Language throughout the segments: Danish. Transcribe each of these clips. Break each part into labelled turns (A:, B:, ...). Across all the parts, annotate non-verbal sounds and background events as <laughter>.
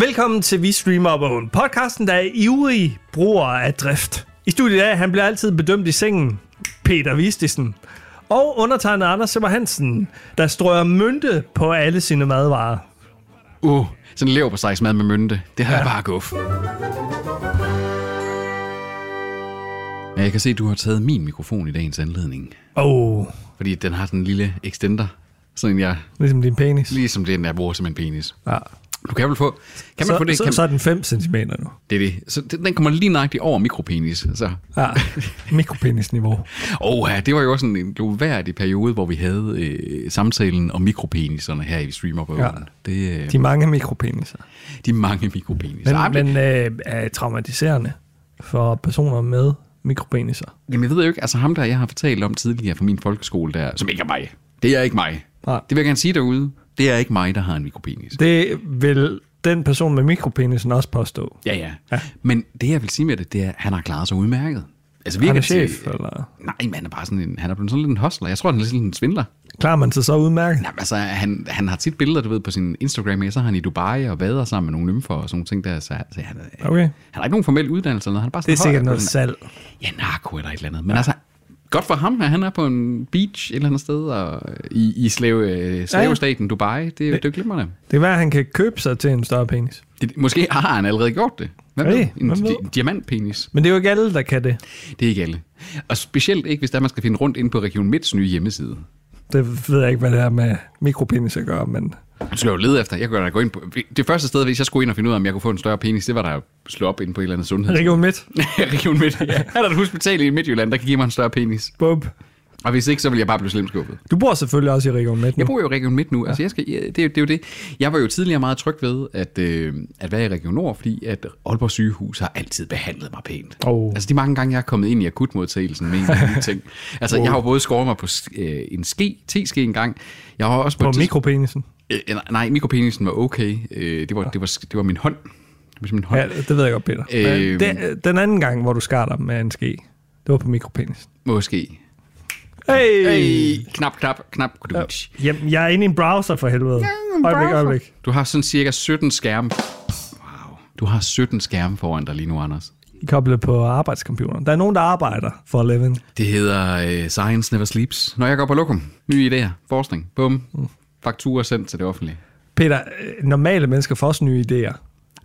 A: Velkommen til Vi Streamer Up Own, podcasten, der er ivrig bruger af drift. I studiet er, han bliver altid bedømt i sengen, Peter Vistisen. Og undertegnet Anders Simmer Hansen, der strøger mynte på alle sine madvarer.
B: Uh, sådan en lever på mad med mynte. Det har ja. jeg bare guf. Ja, jeg kan se, at du har taget min mikrofon i dagens anledning.
A: Åh, oh,
B: Fordi den har sådan en lille extender. Sådan en, jeg,
A: ligesom din penis.
B: ligesom den, jeg bruger som en penis.
A: Ja.
B: Du kan vel få... Kan man
A: Så,
B: få det?
A: så,
B: kan,
A: så er den 5 cm nu.
B: det, er det. Så den den kommer lige nøjagtigt over mikropenis. Så. <laughs>
A: Ja, mikropenisniveau.
B: Oh, ja, det var jo også sådan en gloværdig periode, hvor vi havde øh, samtalen om mikropeniserne her i streamer på
A: Ja.
B: ja. det, øh,
A: De
B: de,
A: mange mikropeniser.
B: de mange mikropeniser. Ej,
A: Men, men øh, er traumatiserende for personer med mikropeniser.
B: Jamen, jeg ved jo ikke, altså ham der, jeg har fortalt om tidligere fra min folkeskole der, som ikke er mig. Det er ikke mig.
A: Nej.
B: Det vil jeg gerne sige derude. Det er ikke mig, der har en mikropenis. Det.
A: Det vil den person med mikropenisen også påstå.
B: Ja, ja, ja. Men det, jeg vil sige med det, det er, at han har klaret sig udmærket. Altså,
A: Han er
B: til-
A: chef, eller?
B: Nej, men han er bare sådan en, han er blevet sådan lidt en hustler. Jeg tror, han er lidt sådan en svindler.
A: Klarer man sig så udmærket?
B: Jamen, altså, han, han har tit billeder, du ved, på sin Instagram, og så er han i Dubai og vader sammen med nogle nymfer og sådan nogle ting der. Så, så han, okay.
A: Okay.
B: han har ikke nogen formel uddannelse eller noget. Han er bare
A: Det
B: sådan
A: er sikkert
B: høj-
A: noget salg.
B: ja, narko eller et eller andet. Men ja. altså, godt for ham, at han er på en beach et eller andet sted og i, i slave, øh, slavestaten Dubai. Det, er jo- det er jo glimrende.
A: Det kan være, at han kan købe sig til en større penis.
B: Det, måske har han allerede gjort det. Hvad
A: Hey,
B: ved? En
A: hvem ved?
B: di- diamantpenis.
A: Men det er jo ikke alle, der kan det.
B: Det er ikke alle. Og specielt ikke, hvis der man skal finde rundt inde på Region Midts nye hjemmeside.
A: Det ved jeg ikke, hvad det har med mikropenis at gøre, men
B: Du skal jo lede efter. Jeg kunne da gå ind på... Det første sted, hvis jeg skulle ind og finde ud af, om jeg kunne få en større penis, det var der at slå op ind på et eller andet sundhed.
A: Region Midt,
B: <laughs> Region Midt. Ja. Er der et hospital i Midtjylland, der kan give mig en større penis?
A: Bob.
B: Og hvis ikke, så vil jeg bare blive slemt skuffet.
A: Du bor selvfølgelig også i Region Midt nu.
B: Jeg bor jo i Region Midt nu. Altså, jeg skal, ja, det, er jo- det er jo det. Jeg var jo tidligere meget tryg ved at, øh, at være i Region Nord, fordi at Aalborg Sygehus har altid behandlet mig pænt.
A: Oh.
B: Altså de mange gange, jeg er kommet ind i akutmodtagelsen med en af de <laughs> ting. Altså, jeg har jo både skåret mig på øh, en ske, teske en gang. Jeg har også på,
A: På
B: et tids-
A: mikropenisen.
B: øh, nej, mikropenisen var okay. Øh, det, var, det, var, det var min hånd. Det var min hånd.
A: Ja,
B: Ja.
A: det ved jeg godt, Peter.
B: Øhm.
A: Men det, den anden gang, hvor du skar dig med en ske, det var på mikropenisen.
B: Måske.
A: Hey!
B: Hey, knap, knap, knap.
A: Jamen, jeg er inde i en browser for helvede. Øjeblik, øjeblik.
B: Du har sådan cirka 17 skærme. Wow. Du har 17 skærme foran dig lige nu, Anders.
A: Koblet på arbejdscomputeren. Der er nogen, der arbejder for at leve
B: Det hedder øh, Science Never Sleeps. Når jeg går på lokum, nye idéer, forskning, bum,
A: Mm.
B: fakturer sendt til det offentlige.
A: Peter, øh, normale mennesker får også nye idéer.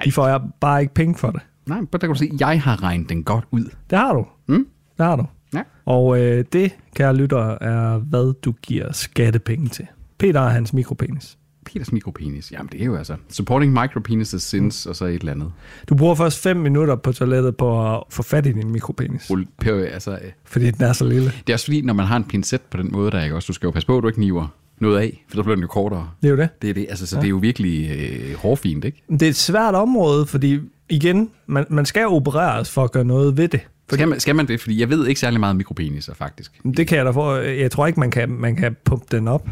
A: De får jeg bare ikke penge for det.
B: Nej, men der kan du se, jeg har regnet den godt ud.
A: Det har du.
B: Mm?
A: Det har du.
B: Ja.
A: Og øh, det, kære lytter, er, hvad du giver skattepenge til. Peter og hans mikropenis.
B: Peters mikropenis. Jamen, det er jo altså supporting micropenises
A: Mm.
B: since, og så et eller andet.
A: Du bruger først 5 minutter på toilettet på at få fat i din mikropenis,
B: Rul- pe- Altså, øh,
A: fordi den er så lille.
B: det er også fordi, når man har en pincet på den måde, der ikke også, du skal jo passe på, at du ikke niver noget af, for så bliver den jo kortere.
A: Det er jo det.
B: Det er det, altså, så det er jo virkelig øh, hårfint, ikke?
A: Det er et svært område, fordi igen, man, man skal opereres for at gøre noget ved det.
B: Skal man, skal man det? Fordi jeg ved ikke særlig meget om mikropeniser, faktisk.
A: Det kan jeg da for. øh, Jeg tror ikke, man kan, man kan pumpe den op.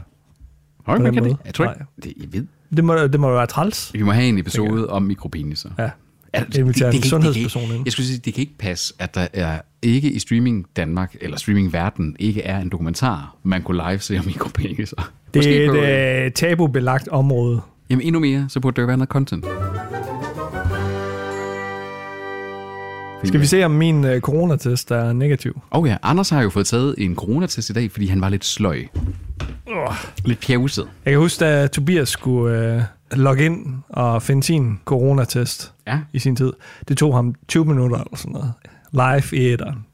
B: Har
A: På
B: du, man
A: den
B: kan
A: måde?
B: det? Jeg tror ikke,
A: Nej.
B: det, jeg ved.
A: Det må, det må være træls.
B: Vi må have en episode om mikropeniser.
A: Ja.
B: Er,
A: Det inviterer en
B: kan ikke-
A: sundhedsperson
B: det kan,
A: ind.
B: ikke- Jeg skulle sige, det kan ikke passe, at der er ikke i streaming Danmark, eller streaming verden, ikke er en dokumentar, man kunne live se om mikropeniser.
A: Det
B: på,
A: er et øh, tabubelagt område.
B: Jamen endnu mere, så burde der jo være noget content.
A: Skal vi se, om min øh, coronatest er negativ?
B: Åh oh ja, Anders har jo fået taget en coronatest i dag, fordi han var lidt sløj.
A: Oh.
B: Lidt pjavset.
A: Jeg kan huske, da Tobias skulle øh, logge ind og finde sin coronatest
B: Ja.
A: i sin tid. Det tog ham 20 minutter eller sådan noget. Live i etteren.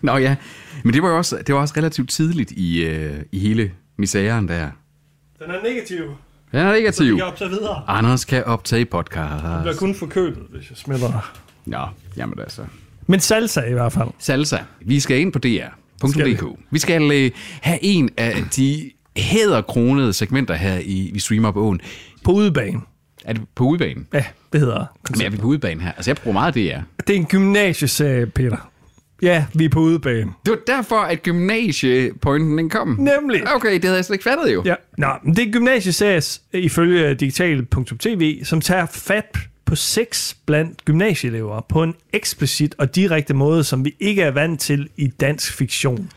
B: Nå ja, men det var jo også, det var også relativt tidligt i, øh, i hele misæren der.
A: Den er negativ.
B: Den er
A: Altså,
B: negativ.
A: optage videre.
B: Anders kan optage podcast.
A: kun forkølet, hvis jeg smitter.
B: Nå, jamen altså.
A: Men salsa i hvert fald.
B: Salsa. Vi skal ind på
A: Skal vi?
B: dr.dk. Vi skal øh, have en af de hæderkronede segmenter her i Vi Streamer på åen.
A: På udebane.
B: Er det på udbanen?
A: Ja, det hedder
B: Men er vi på udbanen her? Altså, jeg bruger meget DR.
A: Det er en gymnasieserie, Peter. Ja, vi er på udebane.
B: Det var derfor, at gymnasiepointen den kom.
A: Nemlig.
B: Okay, det havde jeg slet ikke fattet jo.
A: Ja. Nå, men det er en gymnasieserie øh, ifølge digital.tv, som tager fat på sex blandt gymnasieelever på en eksplicit og direkte måde, som vi ikke er vant til i dansk fiktion.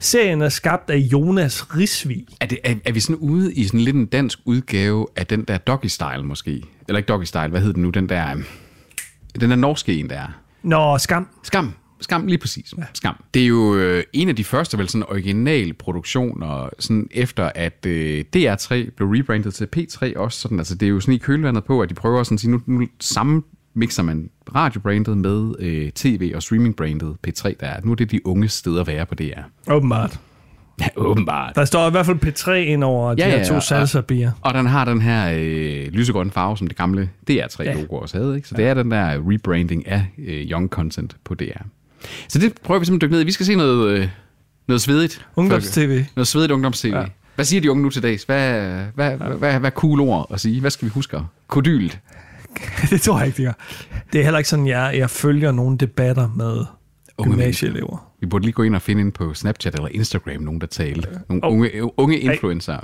A: Serien er skabt af Jonas Risvig.
B: Er, det, er, er vi sådan ude i sådan lidt en dansk udgave af den der doggy-style måske? Eller ikke doggy-style, hvad hed den nu? Den der, øhm, den der norske en, der er.
A: Nå, skam.
B: Skam. Skam, lige præcis. Skam. Det er jo øh, en af de første vel sådan originale produktioner, sådan efter at øh, DR3 blev rebrandet til P3 også. Sådan, altså, det er jo sådan i kølvandet på, at de prøver sådan at sige, nu, nu samme mixer man radiobrandet med øh, tv- og streamingbrandet P3, der er. Nu er det de unge steder at være på DR.
A: Åbenbart.
B: Ja, åbenbart.
A: Der står i hvert fald P3 ind over ja, de her to ja,
B: og-
A: salsa-bier.
B: Og den har den her øh, lysegrønne farve, som det gamle DR3-logo også havde. Ikke? Så det er den der rebranding af øh, young content på DR. Så det prøver vi simpelthen at dykke ned i. Vi skal se noget, øh, noget svedigt.
A: Ungdoms-TV.
B: Folk- Noget svedigt ungdoms-tv. Ja. Hvad siger de unge nu til dags? Hvad, hvad, ja. hvad, hvad, hvad er cool ord at sige? Hvad skal vi huske? Kodylt.
A: <laughs> det tror jeg ikke, de gør. Det er heller ikke sådan, jeg, jeg følger nogle debatter med
B: Unge
A: gymnasieelever.
B: Vi burde lige gå ind og finde ind på Snapchat eller Instagram, nogen der talte. Nogle unge, unge influencer.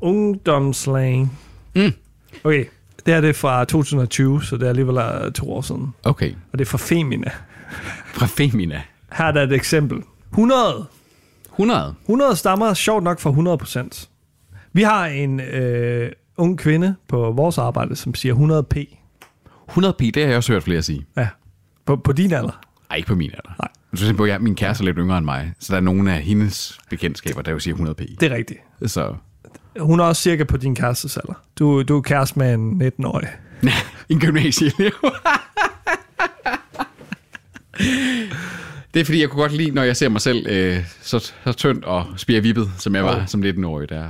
A: Ungdomslang. Mm. Okay, det her det er fra 2020, så det er alligevel øh, to år siden.
B: Okay.
A: Og det er fra Femina.
B: Fra Femina.
A: Her er der et eksempel. 100.
B: 100.
A: 100 stammer sjovt nok fra 100 procent. Vi har en øh, ung kvinde på vores arbejde, som siger 100p.
B: 100p, det har jeg også hørt flere sige.
A: Ja, på, på din alder.
B: Ej, ikke på min alder.
A: Nej.
B: Du skal tænke på, at jeg, min kæreste er lidt yngre end mig, så der er nogle af hendes bekendtskaber, der jo siger 100p.
A: Det er rigtigt.
B: Så
A: Hun er også cirka på din kærestes alder. Du, du er kæreste med en 19-årig.
B: <laughs> en gymnasieelev. det er fordi, jeg kunne godt lide, når jeg ser mig selv øh, så, så tynd og spirvippet, som jeg var oh. som 19-årig. Der.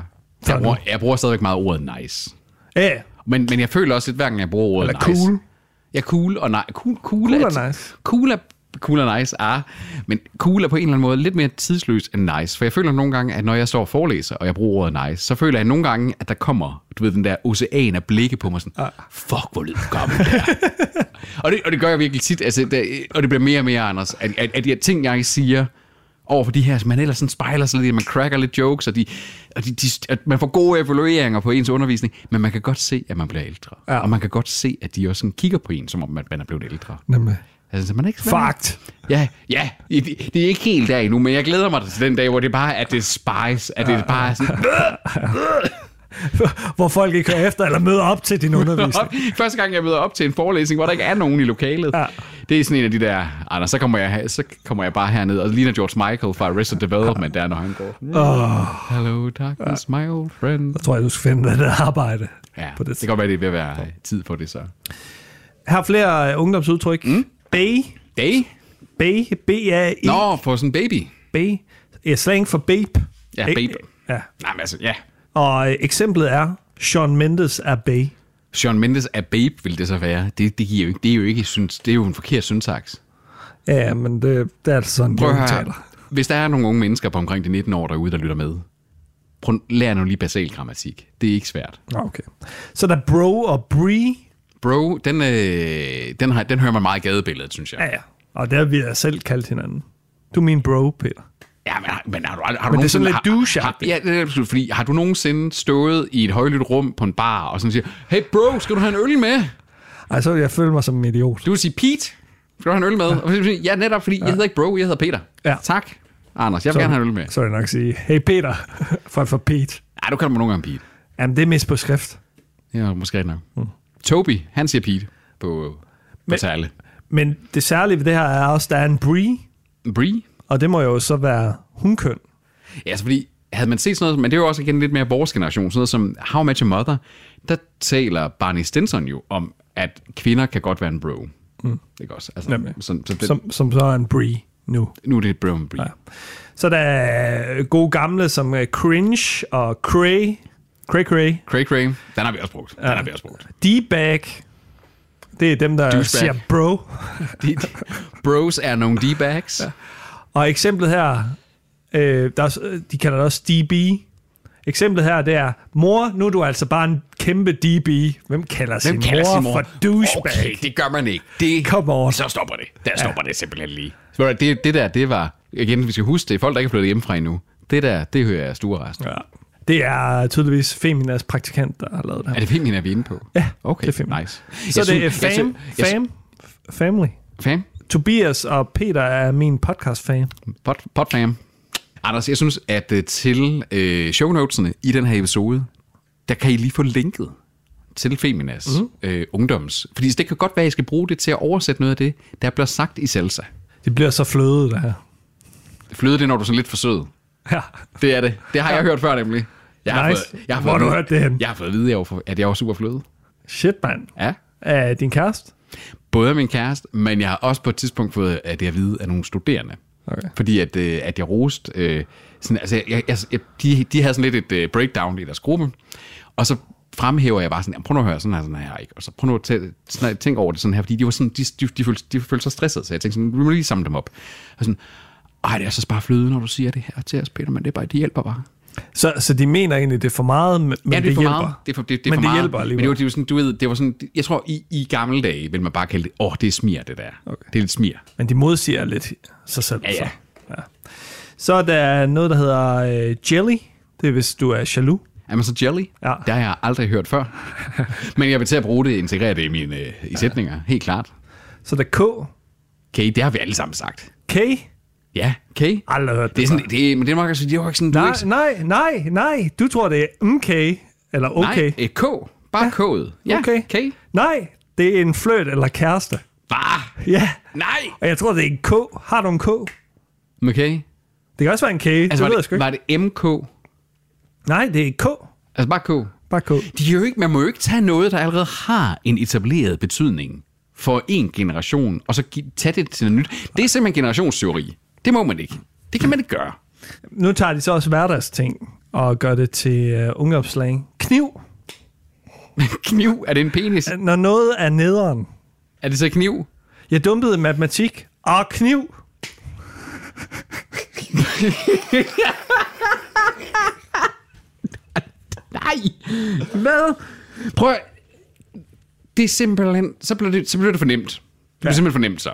B: Jeg,
A: nu.
B: bruger, jeg bruger stadigvæk meget ordet nice.
A: Ja,
B: Men, men jeg føler også lidt, hver gang jeg bruger ordet
A: Eller
B: nice.
A: cool.
B: Ja, cool og nice. Cool, cool,
A: Cool
B: er
A: og
B: ti-
A: nice.
B: Cool er, cool og nice er, men cool er på en eller anden måde lidt mere tidsløs end nice. For jeg føler nogle gange, at når jeg står og forelæser, og jeg bruger ordet nice, så føler jeg nogle gange, at der kommer, du ved, den der ocean af blikke på mig sådan, ah. fuck, hvor lyder du gammel der. og, det, og det gør jeg virkelig tit, altså, det, og det bliver mere og mere, Anders, at, at, at de her ting, jeg siger, over for de her, som man ellers sådan spejler sig lidt, i, man cracker lidt jokes, og, de, og de, de, at man får gode evalueringer på ens undervisning, men man kan godt se, at man bliver ældre. Ja. Og man kan godt se, at de også sådan kigger på en, som om man, man er blevet ældre.
A: nemlig.
B: Altså, så man er ikke man er-
A: Fakt. <laughs>
B: Ja, ja. I- Det, det er ikke helt der endnu, men jeg glæder mig til den dag, hvor det bare er det spice, at det bare er sådan,
A: Hvor folk ikke hører efter eller møder op til din undervisning.
B: op. Første gang, jeg møder op til en forelæsning, hvor der ikke er nogen i lokalet. Ja. Det er sådan en af de der, Anders, så kommer jeg, så kommer jeg bare herned, og ligner George Michael fra Arrested Development, der når han går. Hello darkness, my old friend.
A: Jeg tror, jeg, du skal finde det arbejde.
B: Ja,
A: på det
B: det kan godt være, det er ved at være tid på det så.
A: Her er flere øh, ungdomsudtryk. Mm. Bay.
B: Day?
A: Bay. B-A-E.
B: Nå, for sådan en baby.
A: Bay. Ja, slang for babe.
B: Ja,
A: Æ-
B: babe.
A: Ja.
B: Nej, men altså, ja.
A: Og øh, eksemplet er, Sean Mendes er bay.
B: Sean Mendes er babe, vil det så være. Det, det, giver jo ikke, det er jo ikke, synes, det er jo en forkert syntaks.
A: Ja, men det, det er altså sådan,
B: Prøv
A: de
B: at høre.
A: udtaler.
B: her. Hvis der er nogle unge mennesker på omkring de 19 år derude, der lytter med, prøv, lær nu lige basal grammatik. Det er ikke svært.
A: Nå, Okay. Så der er bro og bree.
B: Bro, den, øh, den, har, den hører man meget i gadebilledet, synes jeg.
A: Ja, ja. Og det har vi da selv kaldt hinanden. Du er min bro, Peter.
B: Ja, men, har- men har du, ald- har du
A: Men det er sådan
B: nogensinde-
A: lidt douche
B: har, har, Ja, det er absolut, fordi har du nogensinde stået i et højlydt rum på en bar og sådan siger, hey bro, skal du have en øl med?
A: Ej, så vil jeg føle mig som en idiot.
B: Du vil sige, Pete, skal du have en øl med? Og så vil du sige, ja, netop, fordi jeg hedder ikke bro, jeg hedder Peter.
A: Ja.
B: Tak, Anders, jeg vil gerne have en øl med.
A: Så vil jeg nok sige, hey Peter, <laughs> frem for Pete.
B: Nej, du kalder mig nogle gange Pete.
A: Jamen, det er mest på skrift.
B: Ja, måske ikke nok.
A: Mm.
B: Toby, han siger Pete på, på men, tale.
A: Men det særlige ved det her er også, der er en bree,
B: Bree?
A: og det må jo så være hunkøn.
B: Ja, altså fordi, havde man set sådan noget, men det er jo også igen lidt mere vores generation, sådan noget som How I Met Your Mother, der taler Barney Stinson jo om, at kvinder kan godt være en bro. Mm. Ikke også? Altså,
A: Nemlig.
B: så, så det, som,
A: Som, som så er en bree nu.
B: nu er det bro and bree. Ja.
A: Så der er gode gamle som øh, cringe og cray, cray cray,
B: Cray Cray, den har vi også brugt. Den har vi også brugt.
A: d-bag. Det er dem, der
B: Douchebag.
A: siger bro.
B: De, de, bros er nogle D-bags. Ja.
A: Og eksemplet her, øh, der er, s- øh, de kalder det også DB. Eksemplet her, det er, mor, nu er du altså bare en kæmpe DB. Hvem kalder, sin,
B: Hvem kalder
A: mor
B: sin mor
A: for douchebag?
B: Okay, det gør man ikke. Det,
A: Come on.
B: Så stopper det. Der stopper det simpelthen lige. Så ved du, Det, det der, det var... Igen, vi skal huske det. er Folk, der ikke er flyttet hjemmefra endnu. Det der, det hører jeg stuerest. Ja.
A: Ja. Det er tydeligvis Feminas praktikant, der har lavet det her.
B: Er det Femina, vi er inde på? Ja, okay,
A: det er Femina.
B: nice.
A: Så
B: Jeg
A: det er
B: synes- jeg
A: fam,
B: synes- jeg
A: fam, family.
B: Fam?
A: Tobias og Peter er min podcast-fan.
B: Pot, potfam? Anders, jeg synes, at øh, til øh, shownotesene i den her episode, der kan I lige få linket til Feminas
A: Mhm.
B: mm. øh, ungdoms. Fordi det kan godt være, at I skal bruge det til at oversætte noget af det, der bliver sagt i salsa.
A: Det bliver så flødet, det
B: <laughs>
A: her.
B: Fløde det, når du er sådan lidt for sød.
A: Ja.
B: Det er det. Det har jeg hørt før nemlig. Jeg har
A: Nice.
B: fået, jeg har
A: Hvor
B: fået,
A: har du hørt det henne?
B: Jeg har fået at vide, at jeg var, for, at jeg var super fløde.
A: Shit, mand.
B: Ja.
A: Er din kæreste?
B: Både af min kæreste, men jeg har også på et tidspunkt fået at det at vide af nogle studerende.
A: Okay.
B: Fordi at, øh, at jeg roste... Øh, sådan, altså, jeg, jeg, jeg, de, de havde sådan lidt et øh, breakdown i deres gruppe. Og så fremhæver jeg bare sådan, "Jamen, prøv nu at høre, sådan her, sådan her, ikke? Og så prøv nu at tæ- sådan her, tænke over det sådan her, fordi de var sådan, de, de, de, følte, de følte sig stressede, så jeg tænkte sådan, vi må lige samle dem op. Og sådan, ej, det er så bare fløde, når du siger det her til os, Peter, men det er bare, det hjælper bare.
A: Så, så de mener egentlig, det er for meget, men ja, det,
B: ja, det, er
A: det
B: for
A: hjælper.
B: Meget. Det er for, det, det er
A: men
B: for
A: det
B: meget.
A: hjælper alligevel.
B: Men det var, det var sådan, du ved, det var sådan, jeg tror, i, i gamle dage ville man bare kalde det, åh, oh, det er smir, det der. Okay. Det er lidt smir.
A: Men de modsiger lidt sig selv.
B: Ja, ja.
A: Så. ja. Så er der noget, der hedder øh, jelly. Det er, hvis du er jaloux.
B: Er man så jelly?
A: Ja.
B: Det har jeg aldrig hørt
A: <laughs>
B: før. Men jeg vil til at bruge det, integrere det i mine øh, i sætninger, helt klart.
A: Så er der K.
B: Okay, det har vi alle sammen sagt.
A: K?
B: Ja, okay.
A: Aldrig hørt det.
B: Det er sådan,
A: før.
B: det, er- men det er nok også, det er jo ikke sådan, du er
A: nej,
B: ikke sådan,
A: Ah, nej, nej, nej. Du tror, det er MK. Eller okay.
B: nej, øh, K, bare K'et. Ja,
A: okay.
B: okay.
A: Nej, det er en fløt eller kæreste. <laughs>
B: Bare,
A: Ja.
B: nej.
A: Og jeg tror, det er en K. Har du en K?
B: Okay.
A: Det kan også være en K. Altså, det
B: Altså,
A: ved
B: var
A: jeg sgu
B: det,
A: ikke.
B: var det MK?
A: Nej, det er K.
B: Altså, bare K.
A: Bare K.
B: De er jo ikke, man må jo ikke tage noget, der allerede har en etableret betydning for en generation, og så gi- tage det til noget nyt. Det er simpelthen generationsteori. Det må man ikke. Det kan man ikke gøre. <laughs>
A: Nu tager de så også hverdagsting og gør det til uh, ungdomsslang. Kniv.
B: Kniv, er det en penis?
A: Når noget er nederen.
B: Er det så kniv?
A: Jeg dumpede matematik og kniv.
B: Nej! Hvad? Prøv at- Det er simpelthen... Så bliver det, så bliver det fornemt. Det
A: Ja.
B: bliver ja. simpelthen fornemt, så.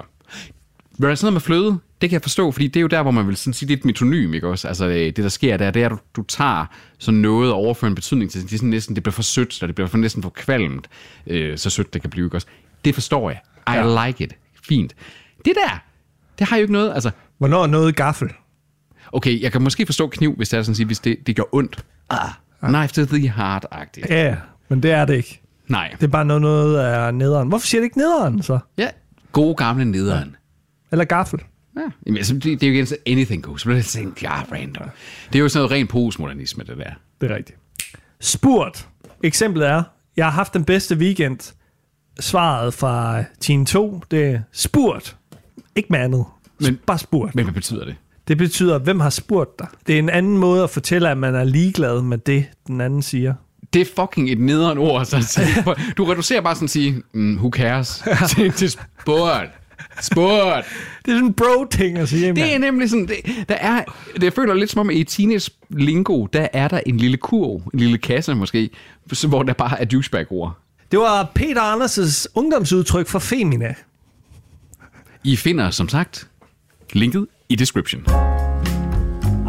B: Hvad der er sådan noget med fløde? Det kan jeg forstå, fordi det er jo der, hvor man vil sådan sige, det er et metonym, ikke også? Altså, øh, det der sker der, det er, at du, du tager sådan noget og overfører en betydning til, det er sådan næsten, det bliver for sødt, eller det bliver for næsten for kvalmt, øh, så sødt det kan blive, ikke også? Det forstår jeg. I ja. like it. Fint. Det der, det har jo ikke noget, altså,
A: Hvornår er noget gaffel?
B: okay, jeg kan måske forstå kniv, hvis det er sådan at sige, hvis det, det gør ondt. Ah, knife to the heart-agtigt.
A: Ja, ja, men det er det ikke.
B: Nej.
A: Det er bare noget, noget er nederen. Hvorfor siger det ikke nederen så?
B: Ja. Gode gamle nederen.
A: Eller gaffel?
B: Ja. Jamen, altså, det, det er jo igen så anything goes. Så bliver det sådan en klar random. Det er jo sådan noget rent postmodernisme, det der.
A: Det er rigtigt. Spurt. Eksemplet er, jeg har haft den bedste weekend. Svaret fra Team 2, det er spurt. Ikke med andet. Men,
B: Men-
A: bare spurt.
B: Men hvad betyder det?
A: Det betyder, hvem har spurgt dig? Det er en anden måde at fortælle, at man er ligeglad med det, den anden siger.
B: Det er fucking et nederen ord, sådan at <laughs> sige. For Du reducerer bare sådan at sige, mm, who cares, <laughs> til, til sport. Sport.
A: Det er sådan en bro-ting at sige.
B: Det
A: mand.
B: er nemlig sådan, det, der er, det jeg føler lidt som om i teenage lingo, der er der en lille kurv, en lille kasse måske, så- hvor der bare er douchebag-ord.
A: det var Peter Anders' ungdomsudtryk for Femina.
B: I finder, som sagt, linket i description.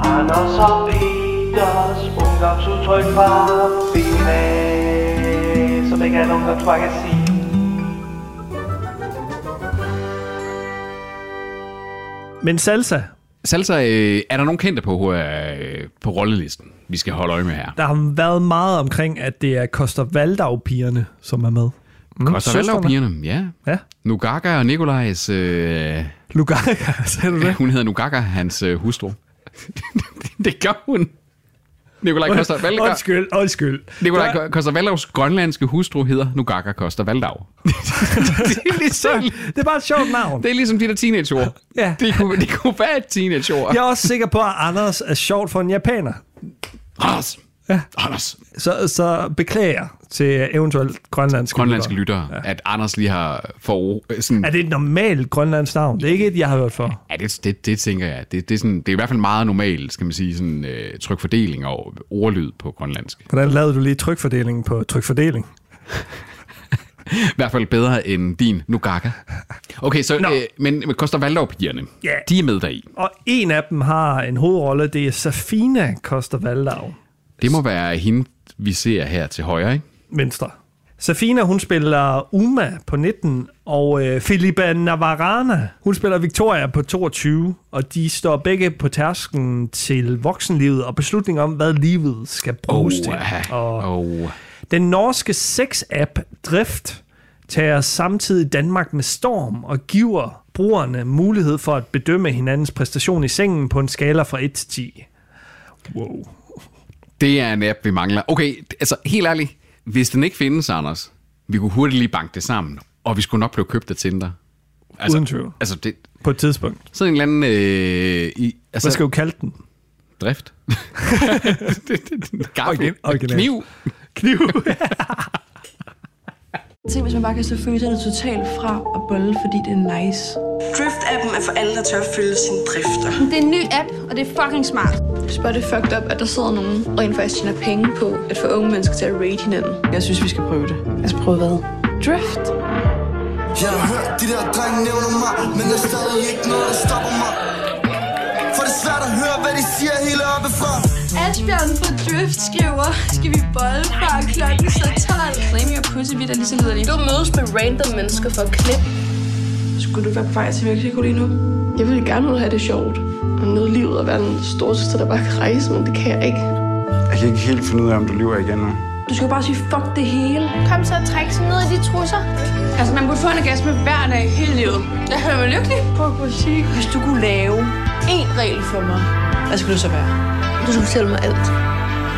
C: Anders og Peters ungdomsudtryk fra Fine, som ikke er et ungdomsmagasin.
A: Men salsa,
B: Salsa, øh, er der nogen kendte på, øh, på rollelisten, vi skal holde øje med her?
A: der har været meget omkring, at det er Koster Valdau-pigerne, som er med. Mm,
B: Costa Valdau
A: søstrene.
B: pigerne, ja.
A: Ja.
B: Nugaga og Nikolajs, øh,
A: Lugaga, <laughs> sagde du det?
B: hun hedder Nugaga, hans øh, hustru. <laughs> det gør hun. Nikolaj Costa Valdau.
A: Undskyld, undskyld.
B: Nikolaj Costa Valdaus grønlandske hustru hedder Nugaga
A: <laughs>
B: Costa Valdau. det, er ligesom,
A: Det er bare et sjovt navn.
B: det er ligesom de der teenageord.
A: Ja.
B: Det, kunne, det kunne være et teenageord.
A: Jeg er også sikker på, at Anders er sjovt for en japaner.
B: Anders. Ja. Anders.
A: Så, så beklager til eventuelt grønlandske,
B: Grønlandske
A: lyttere.
B: lyttere, ja. at Anders lige har for, sådan,
A: Er det et normalt grønlandsk navn? Det er ikke et, jeg har hørt for.
B: Ja, det, det, det tænker jeg. Det, det, er sådan, det er i hvert fald meget normalt, skal man sige, sådan, øh, trykfordeling og ordlyd på grønlandsk.
A: Hvordan lavede du lige trykfordelingen på trykfordeling?
B: I hvert fald bedre end din Nugaka. Okay, så, øh, men, men Koster Valdorpigerne,
A: Ja.
B: de er med deri.
A: Og en af dem har en hovedrolle, det er Safina Koster Valdau.
B: Det må være hende, vi ser her til højre, ikke?
A: Venstre. Safina, hun spiller Uma på 19, og øh, Filipa Navarana, hun spiller Victoria på 22, og de står begge på tærsken til voksenlivet og beslutningen om, hvad livet skal bruges til. Og
B: Oh, oh.
A: den norske sex-app Drift tager samtidig Danmark med storm og giver brugerne mulighed for at bedømme hinandens præstation i sengen på en skala fra 1 til 10. Wow.
B: Det er en app, vi mangler. Okay, d- altså helt ærligt, hvis den ikke findes, Anders, vi kunne hurtigt lige banke det sammen, og vi skulle nok blive købt af Tinder. Altså,
A: Uden tvivl.
B: Altså, det,
A: På et tidspunkt.
B: sådan en eller anden... Øh, i, altså,
A: Hvad skal du kalde den?
B: Drift. det, det, det,
A: Origi-
B: gaffel.
A: originalt.
B: Kniv.
A: Kniv.
D: Tænk, hvis man bare kan slå følelserne totalt fra og bolle, fordi det er nice.
E: Drift-appen er for alle, der tør at følge sine drifter.
F: Det er en ny app, og det er fucking smart.
G: Jeg synes bare, det er fucked up, at der sidder nogen og rent faktisk tjener penge på at få unge mennesker til at rate hinanden.
E: Jeg synes, vi skal prøve det.
D: Altså prøv hvad? Drift.
H: Jeg har hørt de der drenge nævne mig Men der er stadig ikke noget, der stopper mig For det er svært at høre, hvad de siger hele oppe fra
F: Asbjørn fra Drift skriver, skal vi bolle før klokken så 12? Blame your pussy, vi er lige så liderlige. Du mødes med random mennesker for at klippe.
D: Skulle du være på vej til Mexico lige nu?
G: Jeg ville gerne ud have det sjovt og nyde livet og være den storsøster, der bare kan rejse, men det kan jeg ikke.
I: Jeg kan ikke helt finde ud af, om du lyver igen. hva'?
D: Du skal jo bare sige, fuck det hele.
F: Kom så og træk sådan ned af de trusser. Altså, man burde få en orgasme hver dag hele livet. Jeg hører mig lykkelig.
D: Fuck, hvor sygt.
E: Hvis du kunne lave én regel for mig, hvad skulle det så være?
G: Du skal fortælle mig alt.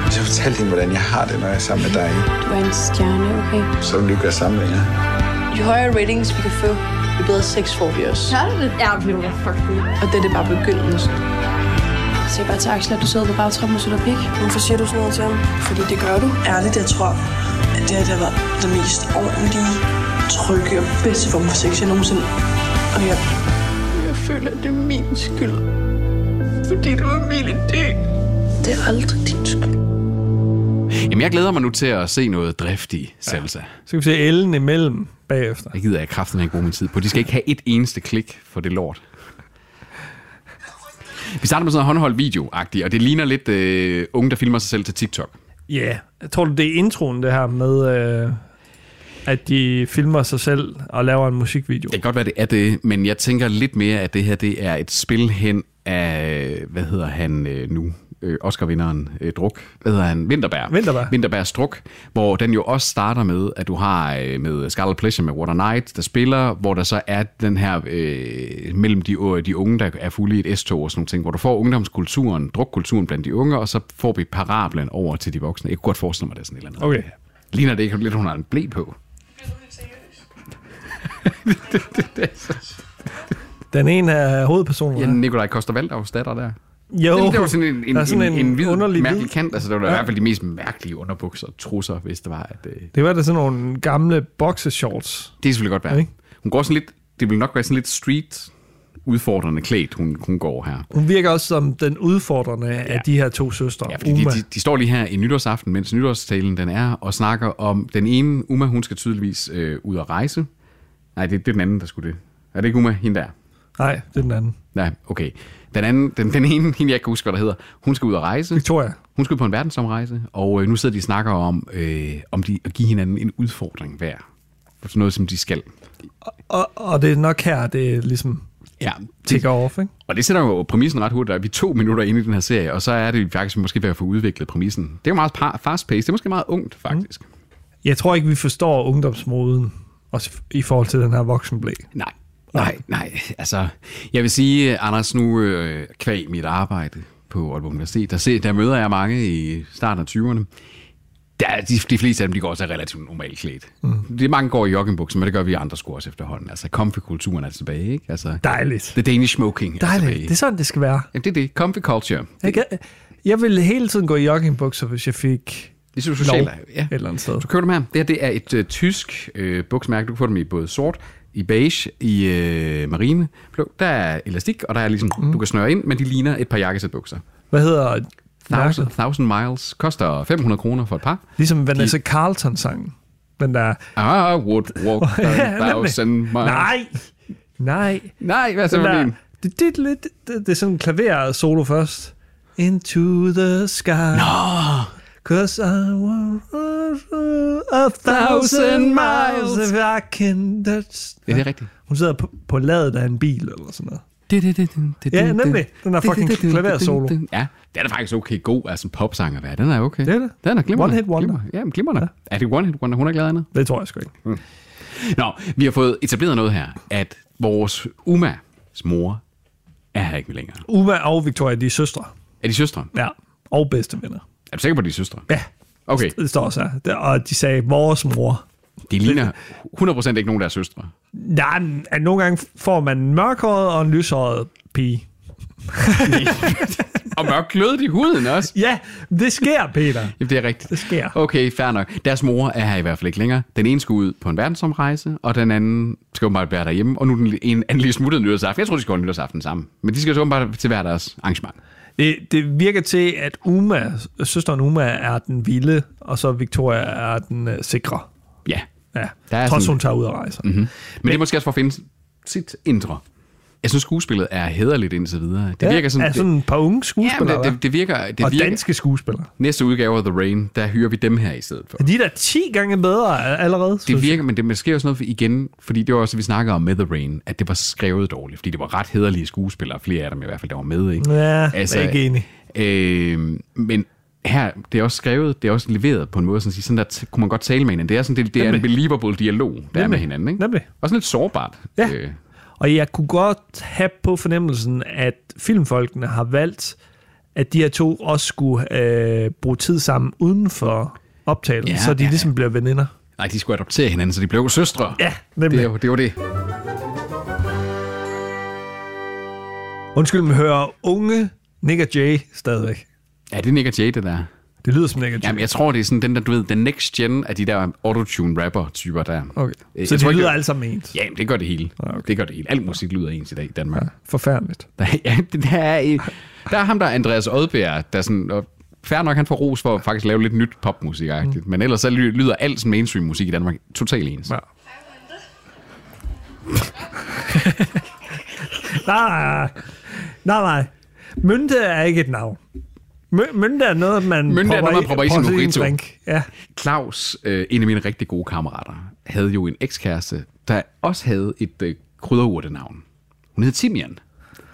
I: Hvis jeg fortalte hende, hvordan jeg har det, når jeg er sammen med dig,
F: Du er en stjerne, okay?
I: så vil du gøre sammenligninger.
E: Jo højere ratings vi kan få, jo bedre sex får vi også.
F: Gør du det? Ja, det bliver jeg fucking.
G: Og det er bare begyndelsen.
D: Se bare til Axel, at du sidder på bagtrappen og sætter pik.
E: Hvorfor siger du sådan noget til ham?
G: Fordi det gør du.
E: Ærligt, jeg tror, at det her det har været det mest ordentlige, trygge og bedste form for sex, jeg nogensinde... Og jeg
G: Jeg føler, at det er min skyld. Fordi det var min idé. Det er aldrig din skyld.
B: Jamen, jeg glæder mig nu til at se noget drift i Salsa. Ja.
A: Så kan vi se Ellen imellem bagefter.
B: Det gider jeg kraften ikke bruge min tid på. De skal ikke have et eneste klik for det lort. Vi starter med sådan noget håndholdt video og det ligner lidt øh, unge, der filmer sig selv til TikTok.
A: Ja, yeah. tror du, det er introen, det her med, øh, at de filmer sig selv og laver en musikvideo?
B: Det kan godt være, det er det, men jeg tænker lidt mere, at det her det er et spil hen af, hvad hedder han øh, nu? Øh, Oscar-vinderen øh, Druk. Hvad hedder han? Vinterberg.
A: Vinterberg.
B: Vinterbergs Druk, hvor den jo også starter med, at du har øh, med Scarlet Pleasure med Water Night, der spiller, hvor der så er den her øh, mellem de, øh, de unge, der er fulde i et S-tog og sådan nogle ting, hvor du får ungdomskulturen, drukkulturen blandt de unge, og så får vi parablen over til de voksne. Jeg kunne godt forestille mig, det er sådan et eller andet.
A: Okay.
B: Ligner det ikke lidt, hun har en blæ på?
A: Den ene af hovedpersonerne.
B: Ja, Nikolaj Koster-Valdavs datter der.
A: jo,
B: Det, det var sådan en, en,
A: der er
B: sådan en, en, en hvid,
A: underlig
B: mærkelig
A: hvid-
B: kant. Altså, det var ja.
A: Ja.
B: i hvert fald de mest mærkelige underbukser og trusser, hvis det var. At, øh,
A: Det var da sådan nogle gamle boxershorts.
B: det er selvfølgelig godt være.
A: Okay.
B: Hun går sådan lidt, det vil nok være sådan lidt street udfordrende klædt, hun, hun går her.
A: Hun virker også som den udfordrende ja. af de her to søstre.
B: Ja, fordi de,
A: Uma.
B: de, de står lige her i nytårsaften, mens nytårstalen den er, og snakker om den ene, Uma, hun skal tydeligvis øh, ud og rejse. Nej, det, det er den anden, der skulle det. Er det ikke Uma, hende der?
A: Nej, det er den anden.
B: Nej, okay. Den anden, den, den ene, hende jeg ikke kan huske, hvad der hedder, hun skal ud og rejse.
A: Victoria.
B: Hun skulle på en verdensomrejse, og øh, nu sidder de og snakker om, øh, om de at give hinanden en udfordring hver. For sådan noget, som de skal.
A: Og, og det er nok her, det ligesom
B: Ja, det,
A: tigger off, ikke?
B: og det sætter jo præmissen ret hurtigt. Der er vi to minutter inde i den her serie, og så er det faktisk måske ved at få udviklet præmissen. Det er jo meget pa- fast-paced. Det er måske meget ungt, faktisk. Mm.
A: Jeg tror ikke, vi forstår ungdomsmoden, også i forhold til den her voksenblæ.
B: Nej. Nej, nej. Altså, jeg vil sige, Anders, nu øh, kvæg mit arbejde på Aalborg Universitet, der, se, der møder jeg mange i starten af 20'erne. Der, er de, de fleste af dem, de går også relativt normalt klædt. Mm. Det mange går i joggingbukser, men det gør vi andre sko også efterhånden. Altså, comfy-kulturen er tilbage, ikke? Altså,
A: Dejligt.
B: the Danish smoking er
A: Dejligt.
B: tilbage.
A: Det er sådan, det skal være.
B: Jamen, det er det. Comfy culture.
A: Jeg, kan, jeg ville hele tiden gå i joggingbukser, hvis jeg fik
B: Det er
A: lov
B: socialt.
A: et eller andet sted.
B: Du køber dem her. Det her det er et øh, tysk øh, buksmærke. Du kan få dem i både sort, i beige, i øh, marine blå. Der er elastik, og der er ligesom, mm. du kan snøre ind, men de ligner et par jakkesætbukser.
A: Hvad hedder
B: Thousand,
A: mærket?
B: thousand Miles koster 500 kroner for et par.
A: Ligesom Vanessa Carlton-sangen. Den der...
B: Ah, I would walk
A: <laughs>
B: a
A: nemlig.
B: thousand miles.
A: Nej! Nej.
B: Nej, hvad så
A: Den
B: med
A: der,
B: din?
A: det, det, er lidt, det, det er sådan en klaver-solo først. Into the sky. No. Cause I will A thousand miles if I can touch.
B: Ja, det er rigtigt.
A: Hun sidder på, på ladet af en bil eller sådan noget.
B: Det, det, det, det, det,
A: Ja,
B: det,
A: nemlig.
B: det.
A: Den er
B: Det,
A: fucking
B: det, det, det,
A: klaversolo.
B: det, det. Ja, den er faktisk okay god, altså en popsanger hvad. Den er okay.
A: Det er det.
B: Den er glimrende.
A: One hit wonder.
B: Glimrende. Ja, men glimrende. Ja. Er det one hit wonder? Hun er glad andet.
A: Det tror jeg sgu ikke.
B: Nå, vi har fået etableret noget her, at vores Umas mor er her ikke længere.
A: Uma og Victoria, de er søstre.
B: Er de søstre?
A: Ja, og bedstevenner.
B: Er du sikker på, at de er søstre?
A: Ja,
B: Okay,
A: det står også her. Det- Og de sagde, vores mor.
B: de ligner 100% ikke nogen, der er søstre.
A: Nej, men, at nogle gange får man en mørkhåret og en lyshåret pige.
B: Og mørk glødet i huden også.
A: Ja, det <laughs> sker, Peter.
B: Jamen, det er rigtigt.
A: Det sker.
B: Okay, fair nok. Deres mor er her i hvert fald ikke længere. Den ene skal ud på en verdensomrejse, og den anden skal åbenbart være derhjemme. Og nu er den en anden lige smuttet nytårsaften. Jeg tror, de skal holde nytårsaften sammen. Men de skal så åbenbart til hver deres arrangement.
A: Det, det virker til, at Uma, søsteren Uma er den vilde, og så Victoria er den øh, sikre.
B: Ja.
A: Ja,
B: Der er
A: trods
B: sådan-
A: hun tager ud og rejser. Mm-hmm.
B: Men, Men det er måske også for at finde sit indre. Jeg synes, skuespillet er hederligt indtil videre. Det virker sådan...
A: er sådan et par unge skuespillere,
B: ja, men det, det, det virker... Det
A: og
B: virker.
A: danske skuespillere.
B: Næste udgave af The Rain, der hyrer vi dem her i stedet for.
A: Er de der 10 gange bedre a- allerede? synes
B: Det
A: jeg?
B: virker, men det sker også noget for, igen, fordi det var også, vi snakkede om med The Rain, at det var skrevet dårligt, fordi det var ret hederlige skuespillere, flere af dem i hvert fald, der var med, ikke? Altså,
A: Ja, jeg er ikke enig.
B: Øh, men her, det er også skrevet, det er også leveret på en måde, sådan, at sige, sådan der t- kunne man godt tale med hinanden. Det er sådan, det, det er en believable dialog, der er med
A: Nemlig.
B: hinanden, ikke?
A: Nemlig.
B: Og sådan lidt sårbart.
A: Ja.
B: Øh,
A: Og jeg kunne godt have på fornemmelsen, at filmfolkene har valgt, at de her to også skulle øh, bruge tid sammen uden for optagelsen,
B: Ja,
A: ja, så de
B: ja,
A: ja,
B: ja.
A: ligesom bliver veninder.
B: nej, de skulle adoptere hinanden, så de blev søstre.
A: Ja,
B: det, er
A: nemlig.
B: jo, det var det.
A: Undskyld, men hører unge Nick og Jay stadigvæk?
B: Ja, det er Nick og Jay, det der.
A: Det lyder som Nick og Jay.
B: Jamen, jeg tror, det er sådan den der, du ved, den next gen af de der autotune rapper-typer der.
A: Okay.
B: Øh,
A: Så
B: jeg
A: de
B: tror
A: lyder altså- Ah,
B: ikke,
A: det... alle sammen
B: det-
A: ens?
B: Ja, men det gør det hele. Okay. Det gør det hele. Alt musik lyder ens i dag i Danmark. Ja.
A: Forfærdeligt.
B: Der, ja, det- der, er, <laughs> en- der er ham, der er Andreas Odbjerg, der sådan... Og færre nok, han får ros for at faktisk lave lidt nyt popmusik mm. Men ellers så ly- lyder alt sådan mainstream musik i Danmark totalt ens.
A: Ja. <laughs> Nej, nej, nej. Mynte er ikke et navn. My- mynte er noget, man
B: Mynte er
A: propper,
B: noget, man propper i sin mojito.
A: drink. Ja.
B: Claus, øh, en af mine rigtig gode kammerater, havde jo en ekskæreste, der også havde et øh, krydderurtenavn. Hun hed Timian.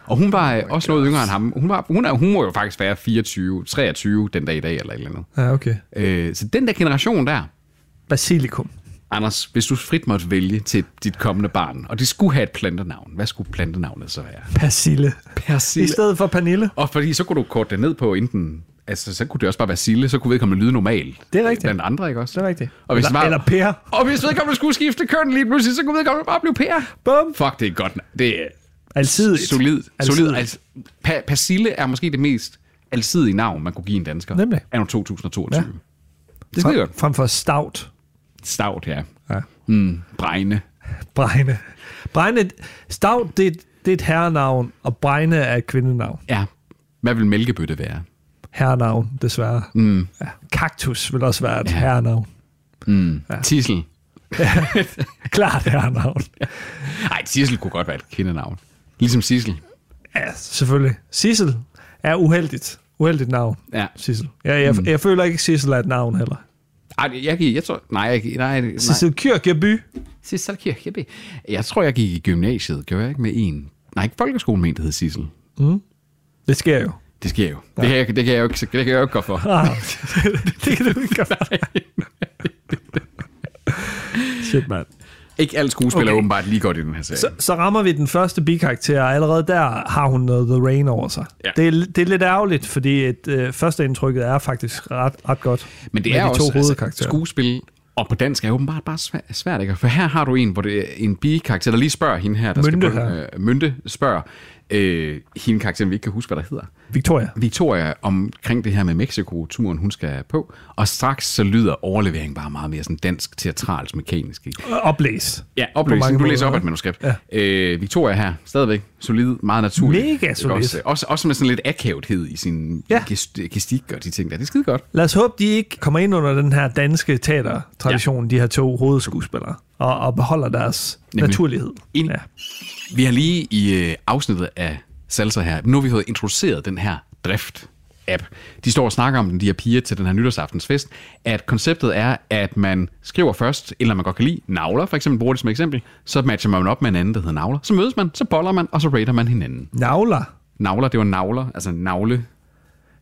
B: Og hun var øh, også noget yngre end ham. Hun, var, hun, er, hun må jo faktisk være 24, 23 den dag i dag eller et eller andet.
A: ja, okay.
B: Øh, så den der generation der,
A: Basilikum.
B: Anders, hvis du frit måtte vælge til dit kommende barn, og det skulle have et plantenavn, hvad skulle plantenavnet så være?
A: Persille.
B: Persille.
A: I stedet for Pernille.
B: Og fordi så kunne du korte det ned på enten... Altså, så kunne det også bare være Sille, så kunne vedkommende lyde normalt.
A: Det er rigtigt.
B: Blandt andre, ikke også?
A: Det er rigtigt.
B: Og hvis
A: Eller-
B: det var,
A: eller Per.
B: Og hvis vedkommende skulle skifte køn lige pludselig, så kunne vedkommende bare blive Per.
A: Bum.
B: Fuck, det er godt. Det er
A: Altid.
B: solid. solid. Altså, pa- Persille er måske det mest alsidige navn, man kunne give en dansker.
A: Nemlig.
B: Anno 2022. Ja.
A: Ja.
B: Det er skide godt.
A: Frem for Stout.
B: Stavt, ja. ja. Mm, bregne.
A: Bregne. Bregne. Stout, det, er et- det er et herrenavn, og Bregne er et kvindenavn.
B: Ja. Hvad vil mælkebøtte være?
A: Herrenavn, desværre. Mm. Ja. Kaktus vil også være et ja. herrenavn.
B: Ja. Tissel.
A: Klart herrenavn.
B: Nej, Tissel kunne godt være et kvindenavn. Ligesom Sissel.
A: Ja, selvfølgelig. Sissel er uheldigt. Uheldigt navn.
B: Ja.
A: Sissel. Ja, jeg, mm. jeg føler ikke, at Sissel er et navn heller.
B: Ej, jeg gik, jeg tror, nej, jeg gik, nej, nej.
A: Sissel Kyrkjeby.
B: Sissel Kirkeby. Jeg tror, jeg gik i gymnasiet, gjorde jeg ikke med en. Nej, ikke folkeskolen mente, det hed Sissel.
A: Det sker jo.
B: Det sker jo. Ja. Det, kan jeg, det, kan jeg jo ikke, det kan jeg jo ikke gå
A: <laughs>
B: for.
A: Ah, det kan du ikke gøre. <laughs> Shit, mand.
B: <laughs> Ikke alle skuespillere okay.
A: Okay.
B: åbenbart lige godt i den her serie.
A: Så, så rammer vi den første bikarakter, og allerede der har hun noget The Rain over sig.
B: Ja.
A: Det, er, det er lidt ærgerligt, fordi et, øh, førsteindtrykket er faktisk ret, ret godt.
B: Men det
A: med
B: er
A: de to
B: også altså,
A: hovedkarakterer.
B: skuespil, og på dansk er åbenbart bare svæ- svært, ikke? For her har du en, hvor det er en bi-karakter, der lige spørger hende her, der
A: Mynte
B: skal
A: her.
B: øh, Mynte spørger øh, hende karakteren, vi ikke kan huske, hvad der hedder.
A: Victoria.
B: Victoria omkring det her med Mexico-turen, hun skal på, og straks så lyder overleveringen bare meget mere sådan dansk, teatralt, mekanisk. ikke?
A: Øh, Oplæs.
B: Ja, oplæsning.
A: mange
B: Du læser
A: måder,
B: op af et
A: ikke?
B: manuskript. Ja. Øh, Victoria her, stadigvæk solid, meget naturlig.
A: Mega
B: Ikke
A: solid.
B: Også, også, også med sådan lidt akavethed i sin ja.
A: Ja.
B: gestik og de ting der. Det er skide godt.
A: Lad os håbe, de ikke kommer ind under den her danske teatertradition, ja. de her to hovedskuespillere, og, og beholder deres
B: Nemlig.
A: Nemlig. naturlighed.
B: Enig.
A: Ja.
B: Vi har lige i øh, afsnittet af Salsa her, nu har vi fået introduceret den her drift app. De står og snakker om den, de her piger, til den her nytårsaftensfest, at konceptet er, at man skriver først, eller man godt kan lide, navler, for eksempel bruger det som eksempel, så matcher man op med en anden, der hedder navler. Så mødes man, så boller man, og så rater man hinanden.
A: Navler.
B: Navler, det var navler, altså navle.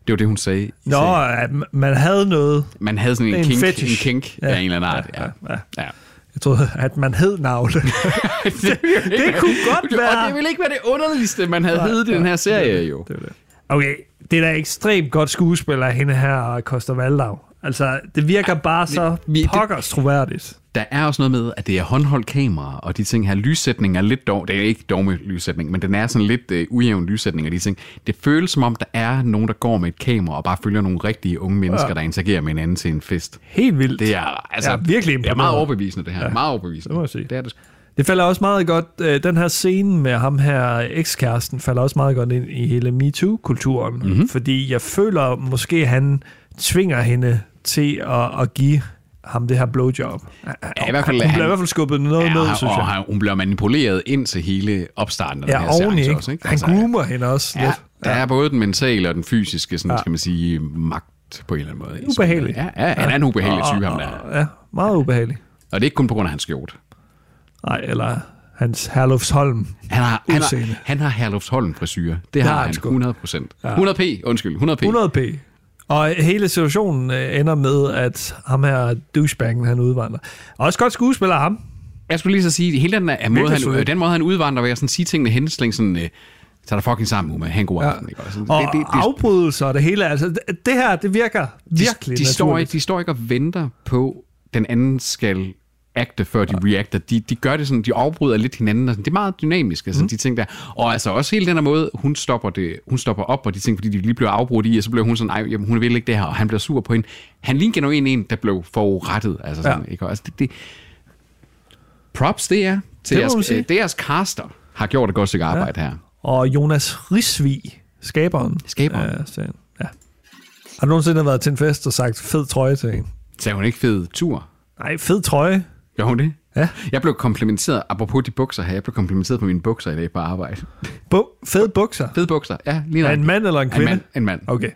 B: Det var det, hun sagde. i
A: Nå,
B: serien.
A: at m- man havde noget.
B: Man havde sådan en,
A: En
B: kink,
A: fetish.
B: en kink ja, af en eller anden art. Ja, ja, ja. ja.
A: Jeg troede, at man hed
B: <laughs>
A: navle.
B: det,
A: det kunne godt være.
B: Og det ville ikke være det underligste, man havde heddet i den her serie, jo.
A: Det er det. Okay, det er da ekstremt godt skuespiller, hende her, Koster Valdau. Altså, det virker bare så
B: vi- det-
A: pokkers troværdigt.
B: Der er også noget med, at det er håndholdt kamera, og de ting her, lyssætning er lidt dog, det er ikke dog med lyssætning, men den er sådan lidt øh, ujævn lyssætning og de ting. Det føles som om, der er nogen, der går med et kamera og bare følger nogle rigtige unge mennesker, ja. der interagerer med hinanden til en fest.
A: Helt vildt.
B: Det er, altså,
A: Jeg er virkelig
B: det er meget
A: imponeret.
B: overbevisende, det her. Ja. Meget overbevisende.
A: Det må jeg sige.
B: Det er det.
A: Det falder også meget godt, øh, den her scene med ham her, ekskæresten, falder også meget godt ind i hele MeToo-kulturen,
B: Mhm.
A: mm-hmm. fordi jeg føler måske, han tvinger hende til at, at give ham det her blowjob.
B: Ja, i hvert fald,
A: Hun
B: han-
A: bliver i hvert fald skubbet noget
B: Ja,
A: ned,
B: og-
A: synes jeg.
B: og hun bliver manipuleret ind til hele opstarten af den her
A: Ja, oveni,
B: seance
A: ikke?
B: også. Ikke? Altså,
A: Han groomer hende også
B: Ja,
A: lidt.
B: der er både den mentale og den fysiske, sådan, ja. skal man sige, magt på en eller anden måde.
A: Ubehagelig.
B: Ja, ja, han er en ubehagelig type, ham der.
A: Og- Ja, meget ubehagelig.
B: Og det er ikke kun på grund af hans skjort.
A: Nej, eller hans Herlufsholm.
B: Han har, han
A: Udseende.
B: har, han har Herlufsholm frisyre. Det
A: har
B: har
A: han
B: han
A: sgu.
B: 100 procent. 100p, undskyld, 100p.
A: 100p. Og hele situationen øh, ender med, at ham her douchebaggen, han udvandrer. Også godt skuespiller ham.
B: Jeg skulle lige så sige, hele den, er måde, han,
A: solid.
B: øh, den måde, han udvandrer, hvor jeg sådan siger tingene henslænge sådan, øh, tag dig fucking sammen, Uma. Ha' en god aften. Ikke? Og sådan,
A: Og det, det, det, afbrydelser og det hele. Altså, det, det her, det virker virkelig
B: de, de, står
A: naturligt.
B: ikke, de står ikke og venter på, den anden skal agte, før de reacter. De, de gør det sådan, de afbryder lidt hinanden. Og sådan. Det er meget dynamisk,
A: Mhm.
B: altså, mm. de ting der. Og altså også hele den her måde, hun stopper, det, hun stopper op, og de ting, fordi de lige bliver afbrudt i, og så bliver hun sådan, ej, jamen, hun vil ikke det her, og han bliver sur på hende. Han ligner jo en, en der blev forurettet. Altså, sådan,
A: Ja.
B: ja. ikke? Og Altså, det, det, props, det er
A: Det
B: til
A: må
B: jeres,
A: man sige.
B: øh, det er jeres caster har gjort et godt stykke arbejde ja. her.
A: Og Jonas Risvig, skaberen.
B: Skaberen.
A: af serien. Ja. Har du nogensinde været til en fest og sagt fed trøje til en?
B: Så er hun ikke fed tur.
A: Nej, fed trøje.
B: Gør hun det?
A: Ja.
B: Jeg blev komplimenteret, apropos de bukser her, jeg blev komplimenteret på mine bukser i dag på arbejde.
A: Bu- fed bukser.
B: Fede bukser, ja. Lige
A: Er
B: nok.
A: en mand eller en
B: En
A: kvinde?
B: mand, en mand.
A: Okay.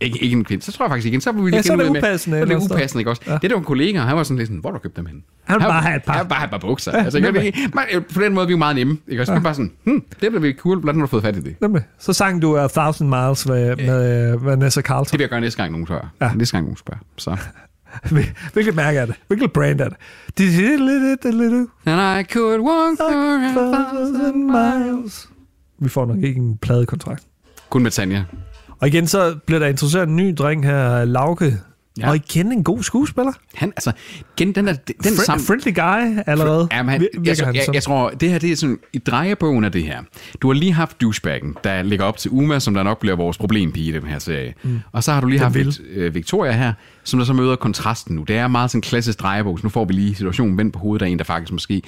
B: Ikke, ikke en kvinde. Så tror jeg faktisk igen, så var vi lige
A: Ja, så er
B: igen
A: det
B: ude med-
A: upassende
B: så
A: et
B: er
A: eller andet
B: Det
A: sted.
B: er upassende, ikke også?
A: Ja.
B: Det der var en kollega, han var sådan lidt sådan, hvor har du købt dem hen?
A: Han ville bare have et par.
B: Han ville bare have et par bukser.
A: Ja,
B: Ja, altså, ikke?
A: nemlig.
B: Vi- man, øh, på den måde, vi er jo meget nemme, ikke også? Vi er bare sådan, hm, det bliver virkelig cool, hvordan har du fået fat i det?
A: Nemlig. Så sang du A Thousand Miles med, med øh, Vanessa Carlton.
B: Det vil jeg gøre næste gang, nogen spørger.
A: Ja.
B: Ja. Næste gang, nogen spørger. Så.
A: Hvil- Hvilket mærke er det? Hvilket brand er det?
B: And I could walk for a thousand miles.
A: Vi får nok ikke en pladekontrakt.
B: Kun med Tanja.
A: Og igen, så bliver der introduceret en ny dreng her, Lauke. Ja.
B: Ja.
A: Og igen en god skuespiller.
B: Han, altså, igen, den der, den
A: Den
B: sam-
A: Friend, friendly guy allerede.
B: Jamen, han,
A: Vir- virker
B: jeg, tror-
A: han
B: jeg,
A: som.
B: jeg tror, det her det er sådan, i drejebogen af det her. Du har lige haft douchebaggen, der ligger op til Uma, som der nok bliver vores problempige i den her serie. Mm. Og så har du lige haft Vic, øh, Victoria her, som der så møder kontrasten nu. Det er meget sådan en klassisk drejebog, så nu får vi lige situationen vendt på hovedet af en, der faktisk måske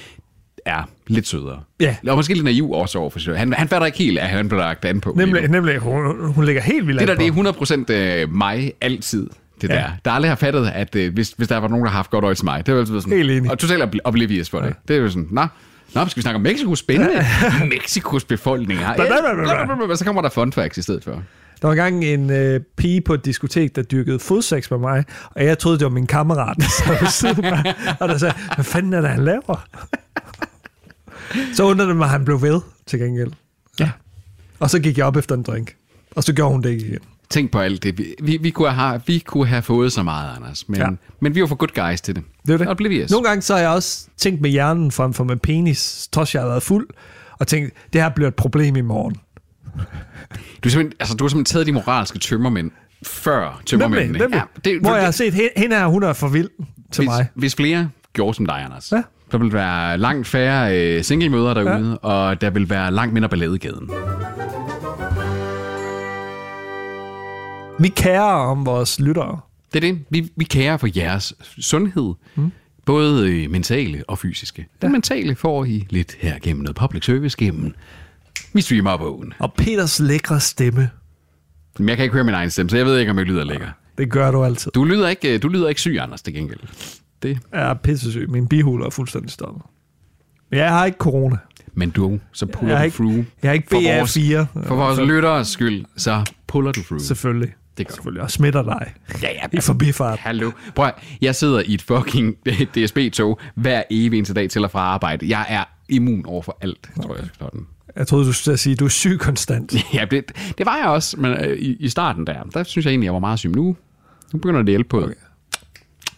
B: er lidt sødere.
A: Ja.
B: Og måske lidt naiv også overfor situationen. Han, han fatter ikke helt, at han bliver lagt an på. lige nu.
A: Nemlig, nemlig hun, hun ligger helt vildt
B: Det der,
A: an på.
B: det er 100% øh, mig altid. Det
A: Ja.
B: ja. der. Der aldrig har fattet, at øh, hvis, hvis der var nogen, der har haft godt øje til mig. Det var altid været sådan.
A: Helt enig.
B: Og totalt obl- oblivious for det. Det er jo sådan, nå, nå, skal vi snakke om Mexico? Spændende. Ja. <laughs> Mexikos befolkning har...
A: Bla, bla, bla, bla, bla.
B: Så kommer der fun facts i stedet for.
A: Der var engang en øh, pige på et diskotek, der dyrkede fodsex med mig, og jeg troede, det var min kammerat, der sad ved siden af mig, og der sagde, hvad fanden er det, han laver? så undrede det mig, at han blev ved til gengæld.
B: Ja.
A: Og så gik jeg op efter en drink, og så gjorde hun det ikke igen.
B: Tænk på alt det. Vi, vi, vi, kunne, have, vi kunne have fået så meget, Anders. Men,
A: Ja.
B: ja. men vi var for good guys til det.
A: Det er det.
B: Oblivious.
A: Nogle gange så har jeg også tænkt med hjernen frem for med penis, trods jeg har været fuld, og tænkt, det her bliver et problem i morgen.
B: Du, har simpelthen, altså, du har simpelthen taget de moralske tømmermænd før tømmermændene.
A: nemlig.
B: Ja, det,
A: Hvor jeg har set, hen- hende her, hun er for vild til
B: hvis,
A: mig.
B: Hvis flere gjorde som dig, Anders,
A: Ja.
B: ja. der vil være langt færre øh, singlemøder derude, ja. og der vil være langt mindre balladegaden.
A: Vi kærer om vores lyttere.
B: Det er det. Vi, vi kærer for jeres sundhed, mm. både øh, mentale og fysiske. Den mentale får I lidt her gennem noget public service, gennem vi streamer bogen.
A: Og Peters lækre stemme,
B: Men jeg kan ikke høre min egen stemme, så jeg ved ikke, om jeg lyder lækker.
A: det gør du altid.
B: Du lyder ikke, øh, du lyder ikke syg, Anders, til gengæld. Det.
A: Jeg er pissesyg. Min bihule er fuldstændig stoppet. Men jeg har ikke corona.
B: Men du, så puller
A: Jeg er
B: du
A: ikke-
B: through.
A: jeg er ikke
B: For
A: BA4.
B: vores, for vores lytteres skyld, så puller du through.
A: Selvfølgelig.
B: Det gør du.
A: selvfølgelig, og smitter dig
B: Ja, altså, ja.
A: i forbifart.
B: Hallo. Prøv at, jeg sidder i et fucking <laughs> DSB-tog hver evig eneste dag til og fra arbejde. Jeg er immun over for alt, tror jeg. Sådan.
A: Jeg troede, du skulle til at sige, at du er syg konstant.
B: Ja, det, det var jeg også, men øh, i, i starten der, der synes jeg egentlig, jeg var meget syg. Nu, nu begynder det at hjælpe på. Okay.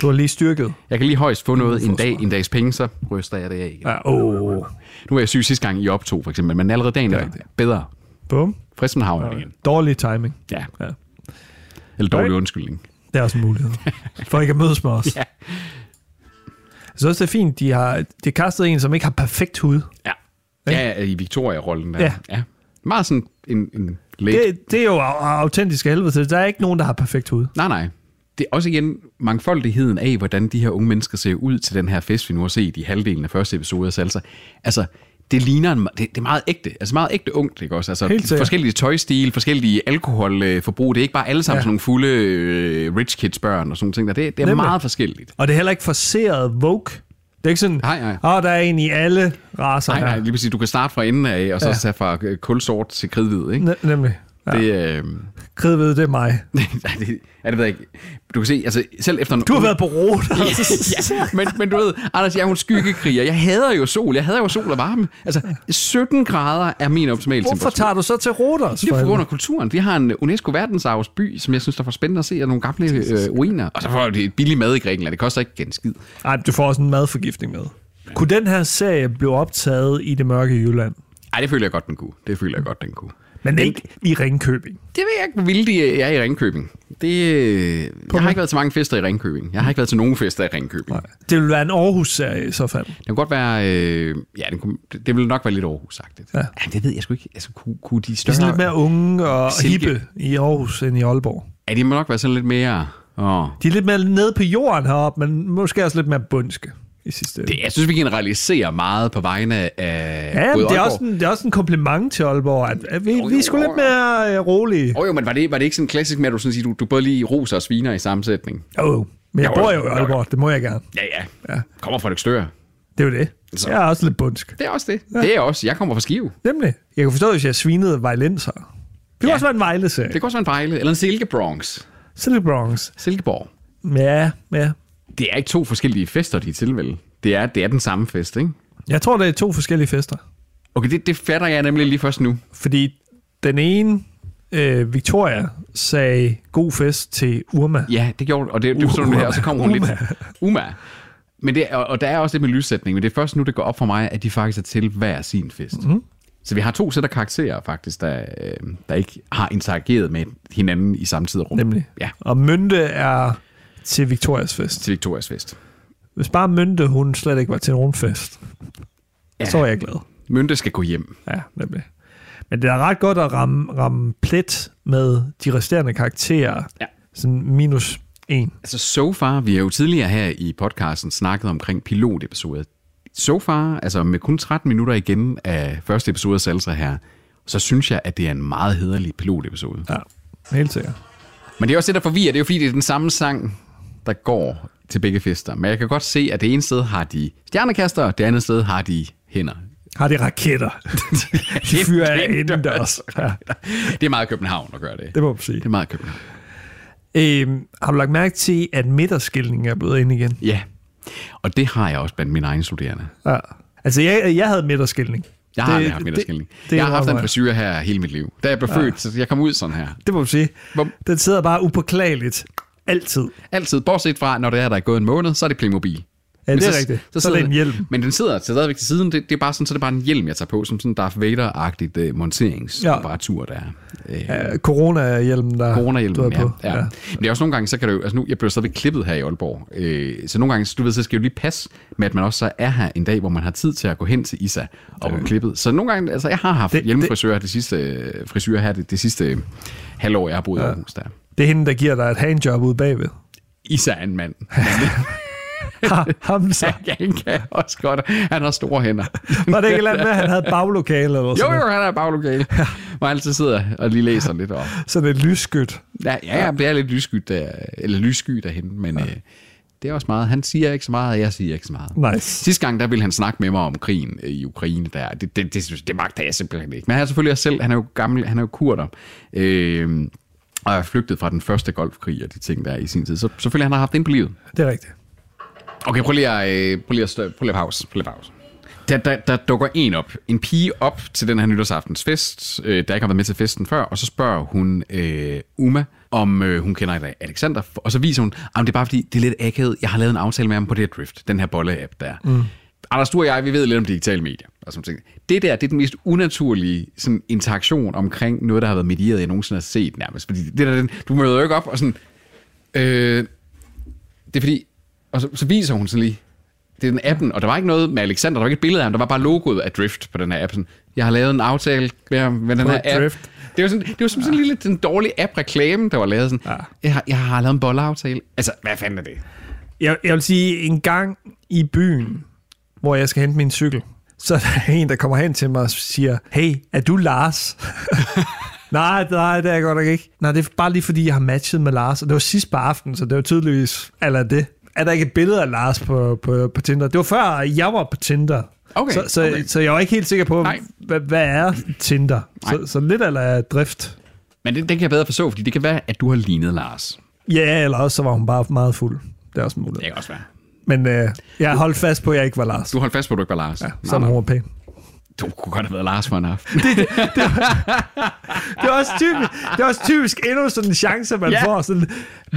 A: Du har lige styrket.
B: Jeg kan lige højst få noget en dag, en dags penge, så ryster jeg det af igen.
A: Ja, åh.
B: Nu var jeg syg sidste gang i optog, for eksempel, men allerede dagen der, bedre.
A: Bum.
B: Frisk som havn igen.
A: Dårlig timing.
B: Ja.
A: Ja.
B: Eller dårlig
A: Okay.
B: undskyldning.
A: Det er også en mulighed. For ikke at mødes med os.
B: <laughs> Ja.
A: Jeg synes også, det er fint, de har de kastet en, som ikke har perfekt hud.
B: Ja. Ja, i Victoria-rollen der.
A: Ja.
B: ja. Meget sådan en, en læge.
A: Det, det er jo au- autentisk af helvede til. Der er ikke nogen, der har perfekt hud.
B: Nej, nej. Det er også igen mangfoldigheden af, hvordan de her unge mennesker ser ud til den her fest, vi nu har set i halvdelen af første episode af Salsa. Altså, det ligner en, det, det er meget ægte. Altså meget ægte ungt, ikke også? Altså
A: Helt sikkert.
B: forskellige tøjstil, forskellige alkoholforbrug. Det er ikke bare alle sammen ja. sådan nogle fulde øh, rich kids børn og sådan nogle ting der. Det, det er
A: Nemlig.
B: meget forskelligt.
A: Og det er heller ikke forseret vogue. Det er ikke sådan,
B: Nej, nej.
A: "Åh, der er en i alle raser
B: Nej,
A: her."
B: nej, lige præcis. Du kan starte fra enden af, og så
A: Ja.
B: ja. tage fra øh, kulsort til kridhvid, ikke?
A: Ne- nemlig. Ja. Det...
B: Det, øh, <laughs>
A: ved, det er mig.
B: nej, det, ja, det ved jeg ikke. Du kan se, altså selv efter en
A: Du har været på roter.
B: <laughs> ja, men, men du ved, Anders, jeg er jo en skyggekriger. Jeg hader jo sol. Jeg hader jo sol og varme. Altså, 17 grader er min optimale
A: Hvorfor tager du så til Rodos?
B: det
A: for
B: er på grund
A: helvede?
B: af kulturen. Vi har en UNESCO-verdensarvsby, som jeg synes, der var spændende at se, og nogle gamle øh, ruiner. Og så får de billig mad i Grækenland. Det koster ikke en skid.
A: Ej, du får også en madforgiftning med. Kunne den her serie blive optaget i det mørke Jylland?
B: Ej, det føler jeg godt, den kunne. Det føler jeg godt, den kunne.
A: Men ikke i Ringkøbing.
B: Det ved jeg ikke, hvor vilde de er i Ringkøbing. Det, øh, jeg har ikke været til mange fester i Ringkøbing. Jeg har ikke været til nogen fester i Ringkøbing. Nej.
A: Det ville være en Aarhus-serie i så fald.
B: Det kunne godt være... Øh, ja, den kunne, det, det ville nok være lidt Aarhus-agtigt. Ja. det ved jeg sgu ikke. Altså, kunne, kunne de
A: De er
B: større...
A: sådan lidt mere unge og
B: Silke.
A: hippe i Aarhus end i Aalborg.
B: Ja, de må nok være sådan lidt mere... Åh.
A: De er lidt mere nede på jorden heroppe, men måske også lidt mere bundske i sidste ende.
B: Det, jeg synes, vi generaliserer meget på vegne af
A: Ja,
B: både
A: men det er,
B: Aalborg-
A: også en, det er også en kompliment til Aalborg, at, at vi,
B: jo,
A: vi er sgu
B: jo,
A: lidt
B: jo.
A: mere øh, rolige.
B: Åh oh, jo, men var det, var det ikke sådan klassisk med, at du, sådan siger, du, du både lige roser og sviner i sammensætning?
A: Jo, jo. Men jeg
B: Jo, jo,
A: bor jo i
B: jo, jo.
A: Aalborg, det må jeg gerne.
B: Ja, ja. ja. Kommer fra Lykstør.
A: Det er jo det.
B: Så.
A: Jeg er også lidt bundsk.
B: Det er også det. Ja. Det er også. Jeg kommer fra Skive.
A: Nemlig. Jeg kan forstå, hvis jeg svinede vejlenser. Det kunne
B: Ja.
A: også være en vejleserie.
B: Det kan også være en fejle. Eller en Silkebronx.
A: Så lidt bronze.
B: Silkeborg.
A: Ja, ja.
B: Det er ikke to forskellige fester, de er tilvælde. Det er, det er den samme fest, ikke?
A: Jeg tror, det er to forskellige fester.
B: Okay, det, det fatter jeg nemlig lige først nu.
A: Fordi den ene, øh, Victoria, sagde god fest til Urma.
B: Ja, det gjorde Og det, det forstår du nu her, og så kommer hun
A: Uma.
B: lidt... Uma. Men det, og, og der er også lidt med lyssætning, men det er først nu, det går op for mig, at de faktisk er til hver sin fest.
A: Mhm.
B: Mm. Så vi har to sæt af karakterer faktisk, der, øh, der ikke har interageret med hinanden i samtidig rum.
A: Nemlig.
B: Ja,
A: Og Mynte er til Victorias fest.
B: til Victorias fest.
A: Hvis bare Mynte, hun slet ikke var til nogen fest, ja.
B: Ja.
A: så er jeg glad.
B: Mynte skal gå hjem.
A: Ja, nemlig. Men det er ret godt at ramme, ramme plet med de resterende karakterer.
B: Ja.
A: Sådan minus en.
B: Altså, so far, vi har jo tidligere her i podcasten snakket omkring pilotepisodet. So far, altså med kun 13 minutter igen af første episode af Salsa her, så synes jeg, at det er en meget hederlig pilotepisode.
A: Ja, helt sikkert.
B: Men det er også det, der forvirrer. Det er jo fordi, det er den samme sang, der går til begge fester. Men jeg kan godt se, at det ene sted har de stjernekaster, og det andet sted har de hænder.
A: Har de
B: <laughs>
A: raketter? de fyrer af indendørs. Ja,
B: Det er meget København at gøre det.
A: det må man sige.
B: Det er meget København.
A: Øhm, har du lagt mærke til, at midterskilningen er blevet ind igen?
B: Ja. Og det har jeg også blandt mine egne studerende.
A: Ja. Altså, jeg, jeg havde midterskilning.
B: Jeg har
A: Det-
B: aldrig haft middagsskilling.
A: det- det
B: Jeg har haft
A: rammer
B: en
A: jeg.
B: frisyr her hele mit liv. Da jeg blev født, så jeg kom ud sådan her.
A: Det må man sige.
B: Hvor-
A: Den sidder bare upåklageligt. Altid.
B: Altid, bortset fra, når det er, der er gået en måned, så er det Playmobil.
A: Ja,
B: Men
A: det er rigtigt. Så er det en hjelm.
B: Men den sidder til stadigvæk til siden. Det, det, er bare sådan, så det er bare en hjelm, jeg tager på, som sådan en Darth Vader-agtigt uh, monteringsreparatur, der er. Øh,
A: Øh, Corona-hjelmen, der du
B: Coronahjelmen,
A: har
B: ja.
A: på.
B: ja. Men det er også nogle gange, så kan det jo, altså nu, jeg bliver stadigvæk klippet her i Aalborg, øh, så nogle gange, så du ved, så skal jeg jo lige passe med, at man også så er her en dag, hvor man har tid til at gå hen til Isa og blive klippet. Så nogle gange, altså jeg har haft
A: Det-
B: hjemmefrisør det, det sidste, øh, frisyr her det, det sidste øh, halvår, jeg har boet ja. i Aarhus der.
A: Det er hende, der giver dig et handjob ude bagved.
B: <laughs> Isa er en mand.
A: Ha, ham så.
B: <laughs> Han kan også godt. Han har store hænder.
A: Var det ikke et eller andet med, at han havde baglokale eller
B: <laughs> Jo,
A: sådan
B: jo,
A: noget?
B: han er baglokale. Hvor han altid sidder og lige læser lidt op.
A: Sådan et lysskyt.
B: Ja, ja, ja, det er lidt lyssky, der, eller lyssky derhen, men ja. øh, det er også meget. Han siger ikke så meget, og jeg siger ikke så meget.
A: Nice.
B: Sidste gang, der ville han snakke med mig om krigen øh, i Ukraine. Der. Det, det, det, synes- det magter jeg simpelthen ikke. Men han er selvfølgelig også selv, han er jo gammel, han er jo kurder. Øh, og er flygtet fra den første golfkrig og de ting, der er i sin tid. Så selvfølgelig han har haft det inde på livet.
A: Det er rigtigt.
B: Okay, prøv lige at, øh, prøv lige at, stø- prøv lige at pause. Prøv lige at pause. Der, der, der dukker en op. En pige op til den her nytårsaftens fest, øh, der ikke har været med til festen før, og så spørger hun øh, Uma, om øh, hun kender Alexander, og så viser hun, at det er bare fordi, det er lidt akavet, jeg har lavet en aftale med ham på det drift, den her bolle-app der. Mm. Anders, du og jeg, vi ved lidt om digitale medier. Og sådan ting. Det der, det er den mest unaturlige sådan, interaktion omkring noget, der har været medieret, jeg nogensinde har set nærmest. Fordi det der, den, du møder jo ikke op og sådan, øh, det er fordi, og så, så viser hun sådan lige, det er den appen, og der var ikke noget med Alexander, der var ikke et billede af ham, der var bare logoet af Drift på den her app. Sådan, jeg har lavet en aftale med, ham, med den
A: På
B: her app.
A: Drift.
B: Det var, sådan, det var som sådan en lille den dårlige app-reklame, der var lavet sådan, ja. jeg, har, jeg har lavet en bolleaftale. Altså, hvad fanden er det?
A: Jeg, jeg vil sige, en gang i byen, hvor jeg skal hente min cykel, så er der en, der kommer hen til mig og siger, hey, er du Lars? <laughs> nej, nej, det er jeg godt nok ikke. Nej, det er bare lige fordi, jeg har matchet med Lars, og det var sidst på aftenen, så det var tydeligvis, eller det. Er der ikke et billede af Lars på, på, på Tinder? Det var før, jeg var på Tinder.
B: Okay,
A: så, så,
B: okay.
A: så jeg var ikke helt sikker på,
B: Nej.
A: hvad, hvad er Tinder?
B: Nej.
A: Så, så lidt eller drift.
B: Men det, det kan jeg bedre forstå, fordi det kan være, at du har lignet Lars.
A: Ja, eller også så var hun bare meget fuld. Det er også muligt.
B: Det kan også være.
A: Men øh, jeg holdt fast på, at jeg ikke var Lars.
B: Du holdt fast på, at du ikke var Lars. Ja,
A: Som hun var pæn.
B: Du kunne godt have været Lars for en aften.
A: Det er også typisk, det er også typisk endnu sådan en chance, man
B: Ja.
A: yeah. får. Sådan,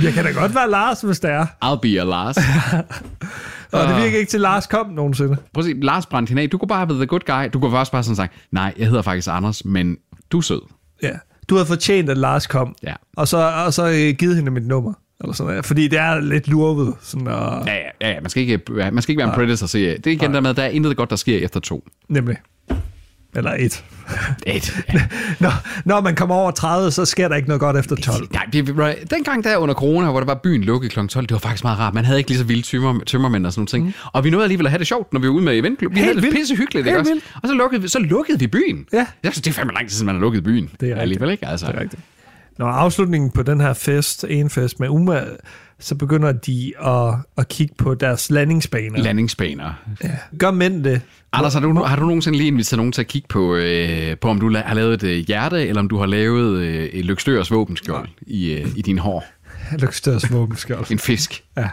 A: jeg kan da godt være Lars, hvis det er.
B: I'll be a Lars.
A: Og
B: Ah.
A: det virker ikke til, at Lars kom nogensinde.
B: Prøv at se, Lars brændte hende af. Du kunne bare have været the good guy. Du kunne også bare sådan sagt, nej, jeg hedder faktisk Anders, men du er sød.
A: Ja. Du havde fortjent, at Lars kom.
B: Ja.
A: Og så, og så øh, givet hende mit nummer. Eller sådan, noget. fordi det er lidt lurvet. Sådan, og,
B: Ja, ja, ja, ja. Man, skal ikke, være- man skal ikke være en predator, siger jeg. Det er igen der med, at der er intet godt, der sker efter to.
A: Nemlig. Eller et.
B: Et.
A: <laughs> Når, når man kommer over 30, så sker der ikke noget godt efter 12.
B: Nej, det, var- dengang der under corona, hvor der var byen lukket kl. 12, det var faktisk meget rart. Man havde ikke lige så vilde tømmer, tømmermænd og sådan noget. Mm. Og vi nåede alligevel at have det sjovt, når vi var ude med eventklub. Vi
A: Helt
B: havde det
A: vildt.
B: pisse hyggeligt, ikke
A: Helt
B: også?
A: vildt.
B: Og så lukkede, vi, så lukkede vi byen.
A: Ja.
B: Jeg synes, det er fandme lang tid siden, man har lukket byen.
A: Det er rigtigt.
B: alligevel ikke, altså.
A: Det er rigtigt. Når afslutningen på den her fest, en fest med Uma, så begynder de at, at kigge på deres landingsbaner.
B: Landingsbaner.
A: Gør mænd det?
B: Anders, har du, har du nogensinde lige inviteret nogen til at kigge på, øh, på om du la- har lavet et øh, hjerte, eller om du har lavet øh, et lykstørs våbenskjold i, øh, i din hår?
A: Lykstørs våbenskjold.
B: En fisk.
A: Ja.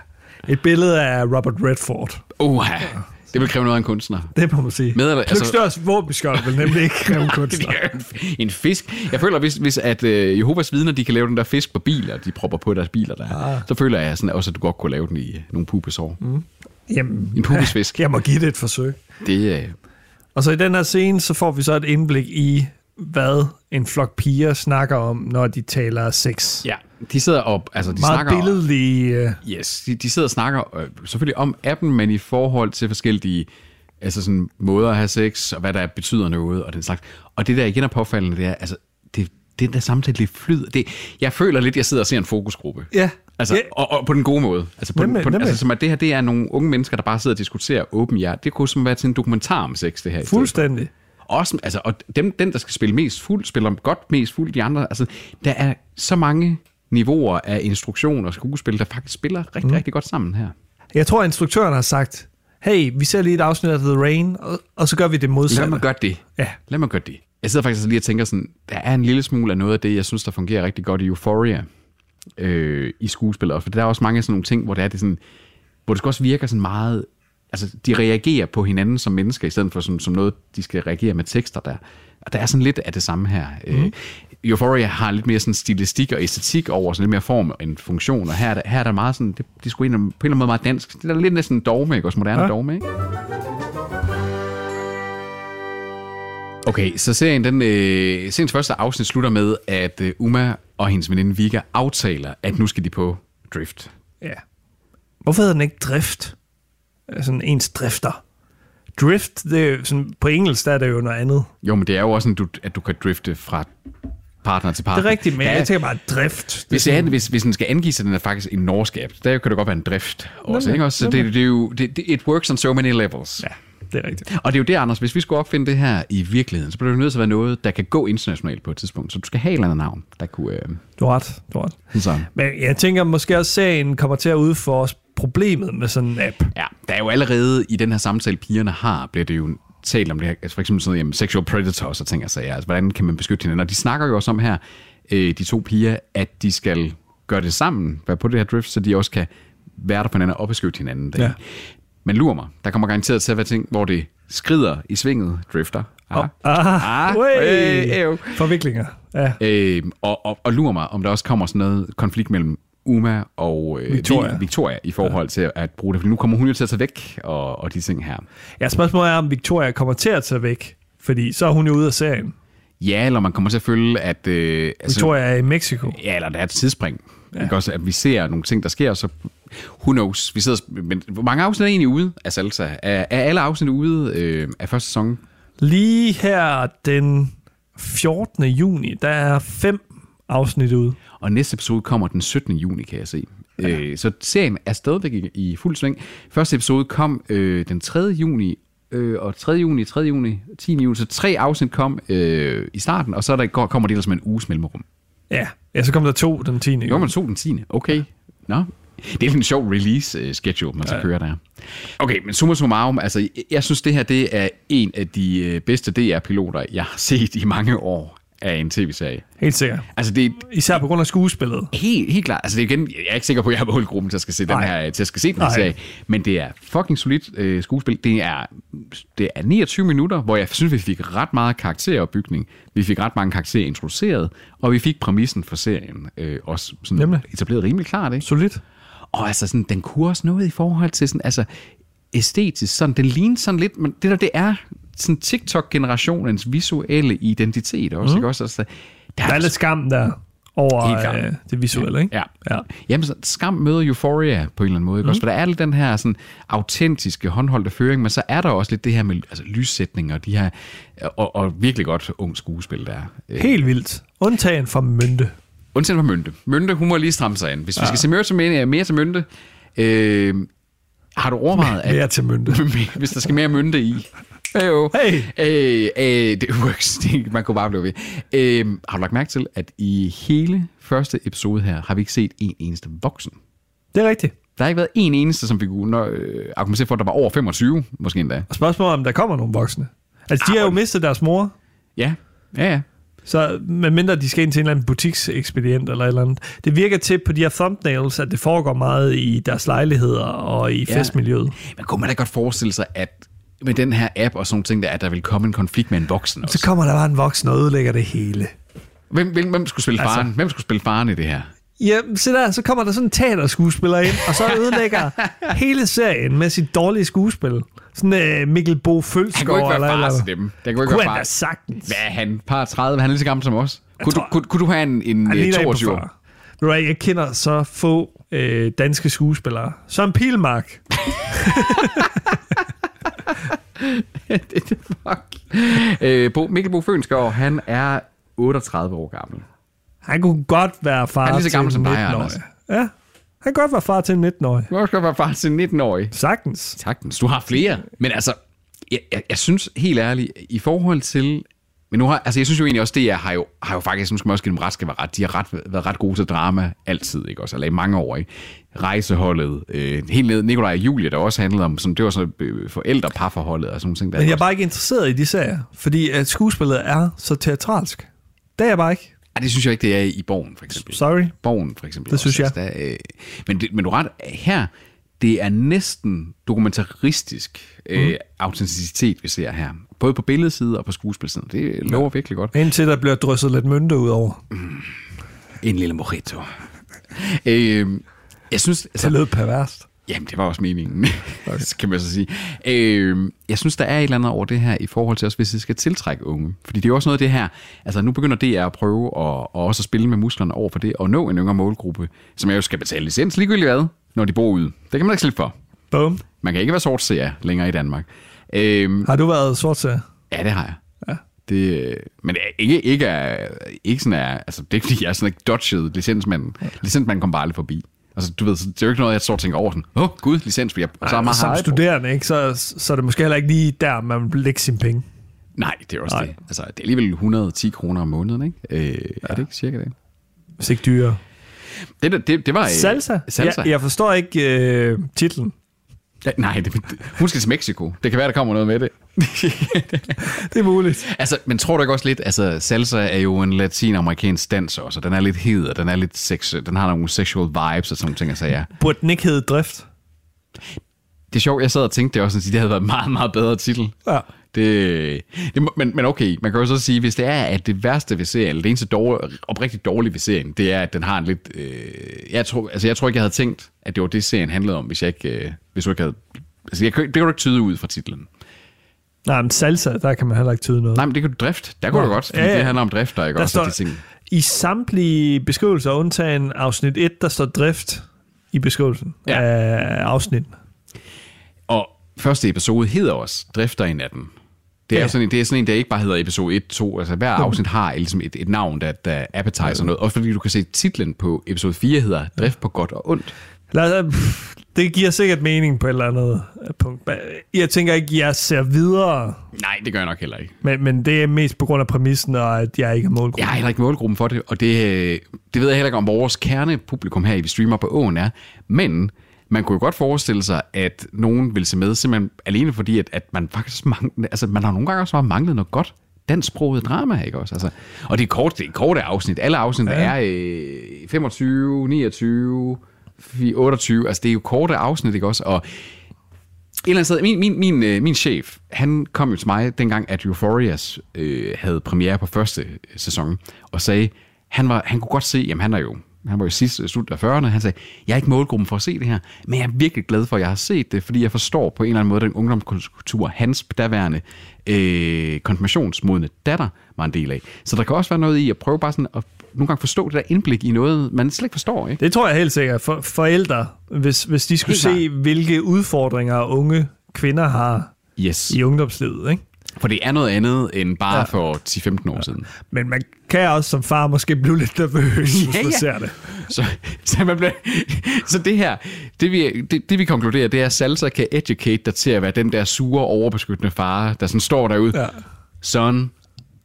A: Et billede af Robert Redford.
B: Oha, det vil kræve noget af en kunstner.
A: Det må man sige.
B: Med eller- altså-
A: Lykstørs våbenskjold vil nemlig ikke kræve
B: <laughs> Det
A: kunstner.
B: er en, en fisk. Jeg føler, hvis, hvis at øh, Jehovas vidner, de kan lave den der fisk på biler, de propper på deres biler der, ah. så føler jeg sådan, også, at du godt kunne lave den i øh, nogle pubesår. Mm.
A: Jamen,
B: En <laughs> pubesfisk.
A: jeg må give det et forsøg.
B: Det, øh,
A: Og så i den her scene, så får vi så et indblik i, hvad en flok piger snakker om, når de taler sex.
B: ja, de sidder op, altså de
A: Meget
B: snakker...
A: billedlige... øh,
B: Yes, de, de sidder og snakker øh, selvfølgelig om appen, men i forhold til forskellige altså sådan, måder at have sex, og hvad der betyder noget, og den slags. Og det der igen er påfaldende, det er, altså, det, den der samtale, det flyder. Det, jeg føler lidt, jeg sidder og ser en fokusgruppe.
A: Ja.
B: Altså,
A: Ja.
B: og, og, på den gode måde. Altså, på, den,
A: Nemlig,
B: på den,
A: nemlig.
B: altså, som at det her, det er nogle unge mennesker, der bare sidder og diskuterer åben jer. Det kunne som være til en dokumentar om sex, det her. i stedet for.
A: Fuldstændig.
B: Også, altså, og dem, den, der skal spille mest fuld, spiller godt mest fuld. De andre, altså, der er så mange niveauer af instruktion og skuespil, der faktisk spiller rigtig, mm. rigtig godt sammen her.
A: Jeg tror, instruktøren har sagt, hey, vi ser lige et afsnit af The Rain, og, og så gør vi det
B: Lad
A: modsatte.
B: mig gøre det.
A: Ja.
B: Lad mig gøre det. Jeg sidder faktisk lige og tænker sådan, der er en lille smule af noget af det, jeg synes, der fungerer rigtig godt i Euphoria øh, i skuespillet. For der er også mange af sådan nogle ting, hvor det er det sådan, hvor det skal også virker sådan meget, altså de reagerer på hinanden som mennesker, i stedet for som, som noget, de skal reagere med tekster der. Og der er sådan lidt af det samme her.
A: Mhm.
B: Mm. Øh, Euphoria har lidt mere sådan stilistik og æstetik over, sådan lidt mere form end funktion, og her er der, her er der meget sådan, det, det er sgu en, på en eller anden måde meget dansk. Det er lidt næsten dogme, ikke? Også moderne ja.
A: Ja.
B: dogme, ikke? Okay, så serien, den, øh, seriens første afsnit slutter med, at øh, Uma og hendes veninde Vika aftaler, at nu skal de på drift.
A: Ja. Hvorfor hedder den ikke drift? Øh, Sådan ens drifter. Drift, det er jo sådan, på engelsk der er det jo noget andet.
B: Jo, men det er jo også sådan, du, at du kan drifte fra partner til partner.
A: Det er rigtigt, men
B: Ja,
A: ja. jeg tænker bare, drift.
B: Hvis, det er, hvis, hvis den skal angive sig, den er faktisk en norsk app, der kan det godt være en drift også, ikke? også så det, det, er jo, det, det, it works on so many levels.
A: Ja, det er rigtigt.
B: Og det er jo det, Anders, hvis vi skulle opfinde det her i virkeligheden, så bliver det nødt til at være noget, der kan gå internationalt på et tidspunkt. Så du skal have et eller andet navn, der kunne... Øh,
A: Du har ret, du har ret.
B: sådan.
A: Men jeg tænker måske også, at serien kommer til at udfordre problemet med sådan en app.
B: Ja, der er jo allerede i den her samtale, pigerne har, bliver det jo talt om det her, altså for eksempel sådan noget, jamen, sexual predators og ting og sager, altså hvordan kan man beskytte hinanden, og de snakker jo også om her, øh, de to piger, at de skal gøre det sammen, være på det her drift, så de også kan være der for hinanden og opbeskytte hinanden. Ja.
A: Ja.
B: Men lurer mig, der kommer garanteret til at være ting, hvor det skrider i svinget, drifter. Aha.
A: Ah,
B: øh, æv.
A: Forviklinger. Ja.
B: Øh, og, og, og lurer mig, om der også kommer sådan noget konflikt mellem Uma og øh,
A: Victoria.
B: Vi- Victoria i forhold til at bruge det. For nu kommer hun jo til at tage væk, og, og de ting her.
A: ja, spørgsmålet er, om Victoria kommer til at tage væk, fordi så er hun jo ude af serien.
B: Ja, eller man kommer til at føle, at... Øh,
A: Victoria er i Mexico.
B: Ja, eller der er et tidsspring. Ja. Ikke? Også, at vi ser nogle ting, der sker, så who knows. Vi sidder, og sp- men hvor mange afsnit er egentlig ude af Salsa? Er, er alle afsnit ude øh, af første sæson?
A: Lige her den 14. juni, der er fem afsnit ude.
B: Og næste episode kommer den 17. juni, kan jeg se. Ja. Øh, så serien er stadigvæk i, i fuld sving. Første episode kom øh, den 3. juni, øh, og 3. juni, 3. juni, 10. juni, så tre afsnit kom øh, i starten, og så er der, går- kommer det ellers med en uges mellemrum.
A: Ja, ja så kom der to den 10.
B: Jo, man tog den 10. Okay. Nå. Det er en sjov release-schedule, man så ja. kører der. Okay, men summa summarum, altså, jeg- jeg synes, det her det er en af de øh, bedste DR-piloter, jeg har set i mange år af en tv-serie.
A: Helt sikkert.
B: Altså, det er
A: Især på grund af skuespillet.
B: helt, helt klart. Altså, det er igen, jeg er ikke sikker på, at jeg er målgruppen, der skal se, den
A: Nej.
B: her, øh, til at skal se den her
A: Nej.
B: serie. Men det er fucking solidt øh, skuespil. Det er, det er 29 minutter, hvor jeg synes, vi fik ret meget karakteropbygning. Vi fik ret mange karakterer introduceret, og vi fik præmissen for serien øh, også sådan
A: Nemlig.
B: etableret rimelig klart. Ikke?
A: Solidt.
B: Og altså, sådan, den kunne også noget i forhold til sådan, altså, æstetisk. Sådan, den ligner sådan lidt, men det der, det er sådan TikTok-generationens visuelle identitet også, mm. ikke også? Altså, der
A: Der Mhm. er lidt skam der over
B: Helt klart.
A: øh, det visuelle, ikke?
B: Ja.
A: ja. Mhm.
B: Jamen, så skam møder euphoria på en eller anden måde, ikke også? For der er lidt den her sådan, autentiske, håndholdte føring, men så er der også lidt det her med altså, lyssætning og de her, øh, og, og virkelig godt ung skuespil, der er. Øh,
A: Helt vildt. Undtagen fra Mynte.
B: Undtagen for Mynte. Mynte, hun må lige stramme sig an. Hvis ja. vi skal se mere til, Mynte- mere til Mynte, øh, har du overvejet, at <laughs>
A: Mere til Mynte.
B: hvis der skal mere mynte i. Heyo.
A: Hey.
B: Øh, øh, det <laughs> works. Det- Man kunne bare blive ved. Øh, har du lagt mærke til, at i hele første episode her, har vi ikke set en eneste voksen?
A: Det er rigtigt.
B: Der har ikke været en eneste, som vi kunne når, øh, argumentere for, at der var over 25, måske endda.
A: Og spørgsmålet er, om der kommer nogle voksne. Altså,
B: Ah,
A: de har jo mistet deres mor,
B: Ja, ja, ja.
A: så medmindre de skal ind til en eller anden butiksekspedient eller et eller andet. Det virker til på de her thumbnails, at det foregår meget i deres lejligheder og i
B: Ja.
A: festmiljøet.
B: Men kunne man da godt forestille sig, at med den her app og sådan nogle ting, der, at der vil komme en konflikt med en voksen også?
A: Så kommer der bare en voksen og ødelægger det hele.
B: Hvem, hvem, hvem skulle spille faren? Altså, hvem skulle spille faren i det her?
A: Ja, se der, så kommer der sådan en teaterskuespiller ind, og så
B: <laughs>
A: ødelægger hele serien med sit dårlige skuespil. Sådan øh, Mikkel Bo Følsgaard.
B: Han kunne ikke være
A: eller-
B: far
A: eller-
B: til dem. Det kunne ikke
A: Kunne
B: være
A: han
B: far.
A: da sagtens.
B: Hvad er han? Par 30? Han er lige så gammel som os. Kunne,
A: tror-
B: du, kunne, kunne du have en, en
A: Han
B: øh,
A: ligner en på
B: 22 år? <laughs>
A: 40. Ved du hvad, jeg kender så få øh, danske skuespillere. Søren Pilmark.
B: det er fuck. Øh, Bo, Mikkel Bo Fønsgaard, han er 38 år gammel.
A: Han kunne godt være far
B: Han er lige så
A: til
B: gammel
A: en
B: som dig,
A: 19-årig.
B: Anders.
A: Ja, han kan godt være far til en 19-årig.
B: Du kan også godt være far til en 19-årig.
A: Sagtens.
B: Tak, men du har flere. Men altså, jeg, jeg, jeg synes helt ærligt, i forhold til... Men nu har, altså jeg synes jo egentlig også, det har jo, har jo faktisk, nu skal man også give dem ret, skal være ret, de har ret, været ret gode til drama altid, ikke også, eller i mange år, ikke? Rejseholdet, øh, helt ned, Nikolaj og Julie, der også handlede om, sådan, det var så øh, forældre, parforholdet og sådan nogle ting. Der
A: Men jeg er
B: også-
A: bare ikke interesseret i de serier, fordi at skuespillet er så teatralsk. Det er jeg bare ikke.
B: Ej, det synes jeg ikke, det er i Borgen, for eksempel.
A: Sorry.
B: Borgen, for eksempel.
A: Det synes jeg.
B: Altså, der, øh, men, det, men du er ret, her, det er næsten dokumentaristisk
A: Mhm.
B: øh, autenticitet, vi ser her. Både på billedsiden og på skuespilsiden. Det lover ja. virkelig godt.
A: Indtil der bliver drysset lidt mynte ud over.
B: En lille mojito. <laughs> øh, jeg synes...
A: Det
B: Altså,
A: lød perverst.
B: Jamen, det var også meningen, <laughs> okay. kan man så sige. Øh, jeg synes, der er et eller andet over det her i forhold til også, hvis det skal tiltrække unge. Fordi det er jo også noget af det her, altså nu begynder DR at prøve at, og også at spille med musklerne over for det, og nå en yngre målgruppe, som jeg jo skal betale licens ligegyldigt hvad, når de bor ude. Det kan man ikke slippe for.
A: Bum.
B: Man kan ikke være sortseer længere i Danmark. Øh,
A: Har du været sort til?
B: Ja, det har jeg. Ja. Det, øh, men det er ikke, ikke, er, ikke sådan er, altså det er ikke fordi, jeg er sådan ikke dodged licensmanden. Ja. Licensmanden kom bare aldrig forbi. Altså, du ved, så det er jo ikke noget, jeg står og tænker over sådan, åh, oh, gud, licens, fordi jeg så er meget
A: Som
B: hard.
A: studerende, ikke? Så, så er det måske heller ikke lige der, man vil lægge sine penge.
B: Nej, det er også
A: Nej.
B: det. Altså, det er alligevel 110 kroner om måneden, ikke? Øh, ja. Er det ikke cirka det?
A: Hvis ikke dyre.
B: Det, der- det, det var... øh,
A: Salsa?
B: Salsa.
A: Jeg, jeg forstår ikke øh, titlen.
B: Ja, Nej, det, det, hun skal til Mexico. Det kan være, der kommer noget med det.
A: Det er muligt.
B: Altså, men tror du ikke også lidt, altså salsa er jo en latinamerikansk dans også, og den er lidt hed, og den er lidt sex, den har nogle sexual vibes og sådan nogle ting, altså ja.
A: Burde den ikke hedde drift?
B: Det er sjovt, jeg sad og tænkte det også, at det havde været en meget, meget bedre titel.
A: Ja.
B: Det, det, må- men, men okay, man kan jo så sige, hvis det er, at det værste ved serien, eller det eneste dårlige, oprigtigt dårlige ved serien, det er, at den har en lidt... Øh, jeg, tror, altså, jeg tror ikke, jeg havde tænkt, at det var det, serien handlede om, hvis jeg ikke... Øh, hvis du ikke havde, altså, jeg, kan- det kan du ikke tyde ud fra titlen.
A: Nej, men salsa, der kan man heller ikke tyde noget.
B: Nej, men det kan du drift. Der kunne du
A: Nå,
B: godt, fordi
A: ja,
B: ja,
A: ja.
B: ja. det handler om drift, der, ikke
A: der
B: også?
A: står,
B: og de ting.
A: I samtlige beskrivelser, undtagen afsnit 1, der står drift i beskrivelsen ja.
B: Ja.
A: af afsnitten.
B: Og første episode hedder også Drifter i natten. Det er,
A: Ja.
B: ja. sådan, en, det er sådan en, der ikke bare hedder episode 1, 2. Altså hver afsnit har ligesom et, et navn, der, der appetizer noget. Også fordi du kan se titlen på episode 4 hedder Drift på godt og ondt.
A: Lad os, pff, det giver sikkert mening på et eller andet øh, punkt. Men Jeg tænker ikke, jeg ser videre,
B: Nej, det gør jeg nok heller ikke.
A: men, men det er mest på grund af præmissen, og at jeg ikke er målgruppen.
B: Jeg har heller ikke målgruppen for det, og det, øh, det ved jeg heller ikke, om vores kernepublikum her i Vi Streamer på Åen er. Men man kunne jo godt forestille sig, at nogen vil se med, simpelthen alene fordi, at, at man faktisk mangler, altså man har nogle gange også bare manglet noget godt dansksproget drama, ikke også? Altså, og det er kort, det er korte afsnit. Alle afsnit ja. er øh, 25, 29, 28, altså det er jo korte afsnit, ikke også? Og et eller andet sted, min, min, min, øh, min chef, han kom jo til mig dengang, at Euphorias øh, havde premiere på første øh, sæson, og sagde, han, var, han kunne godt se, jamen han er jo, han var jo sidst øh, slut af 40'erne, han sagde, jeg er ikke målgruppen for at se det her, men jeg er virkelig glad for, at jeg har set det, fordi jeg forstår på en eller anden måde den ungdomskultur, hans daværende øh, konfirmationsmodne datter var en del af. Så der kan også være noget i at prøve bare sådan at nogle gange forstå det der indblik i noget, man slet ikke forstår, ikke?
A: Det tror jeg helt sikkert. For, forældre, hvis, hvis de skulle
B: Helt klart.
A: se, hvilke udfordringer unge kvinder har
B: Yes.
A: i ungdomslivet, ikke?
B: For det er noget andet end bare ja. for 10-15 år ja. siden.
A: Men man kan også som far måske blive lidt nervøs, ja, hvis
B: Ja,
A: man
B: ja.
A: ser det.
B: Så, så, man bliver, så det her, det vi, det, det vi konkluderer, det er, at salsa kan educate dig til at være den der sure, overbeskyttende far, der sådan står derude.
A: Ja.
B: Ja. Son,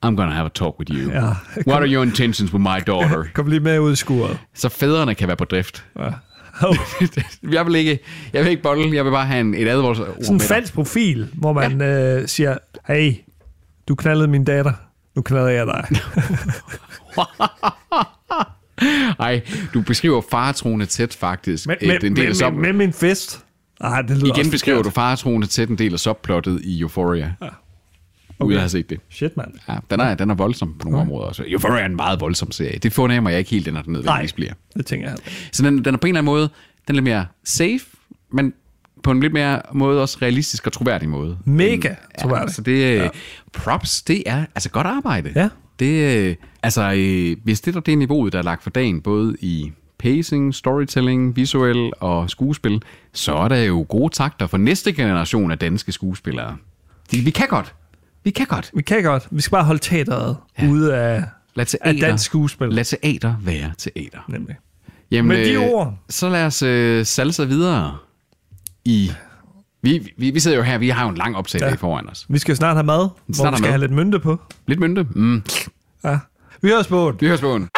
B: I'm gonna have a talk with you.
A: Ja.
B: What are your intentions with my daughter?
A: Kom lige med ud i skuret.
B: Så fædrene kan være på drift. <laughs>
A: Oh,
B: jeg vil ikke, jeg vil ikke bolle, jeg vil bare have en, et
A: <laughs>
B: advarselsord
A: sådan en
B: med dig.
A: falsk profil, hvor man ja. øh, siger, hey, du knaldede min datter, nu knalder jeg
B: <laughs>
A: dig.
B: Ej, du beskriver faretroende tæt faktisk.
A: Men,
B: Øh, det er
A: men,
B: en del af
A: men,
B: sub-
A: men, men min fest. Ej, det lyder
B: Igen
A: også
B: beskriver du
A: forkert.
B: faretroende tæt en del af subplottet i Euphoria. Ja. Okay. Uden at have set det.
A: Shit, mand.
B: Ja, den er, den er voldsom på nogle okay. områder også. Euphoria er en meget voldsom serie. Det fornemmer jeg ikke helt, den er den
A: Nej,
B: nødvendigvis bliver.
A: det tænker jeg.
B: Så den, den er på en eller anden måde, den er lidt mere safe, men på en lidt mere måde også realistisk og troværdig måde.
A: Mega troværdig.
B: Så det, ja. props, det er altså godt arbejde.
A: Ja.
B: Det, øh, altså, øh, hvis det er det niveauet, der er lagt for dagen, både i pacing, storytelling, visuel og skuespil, så er der jo gode takter for næste generation af danske skuespillere. De, vi kan godt. Vi kan godt.
A: Vi kan godt. Vi skal bare holde teateret ja. ude af,
B: Lad
A: af
B: teater,
A: dansk skuespil.
B: Lad teater være teater.
A: Nemlig.
B: Jamen, øh,
A: Med de ord.
B: Så lad os øh, salse videre i... Vi, vi, vi sidder jo her, vi har jo en lang optagelse ja. foran os.
A: Vi skal jo snart have mad, snart hvor
B: Snart
A: vi
B: have
A: skal
B: mad.
A: have lidt mynte på.
B: Lidt mynte. Mm.
A: Ja. Vi høres på.
B: Vi høres på en.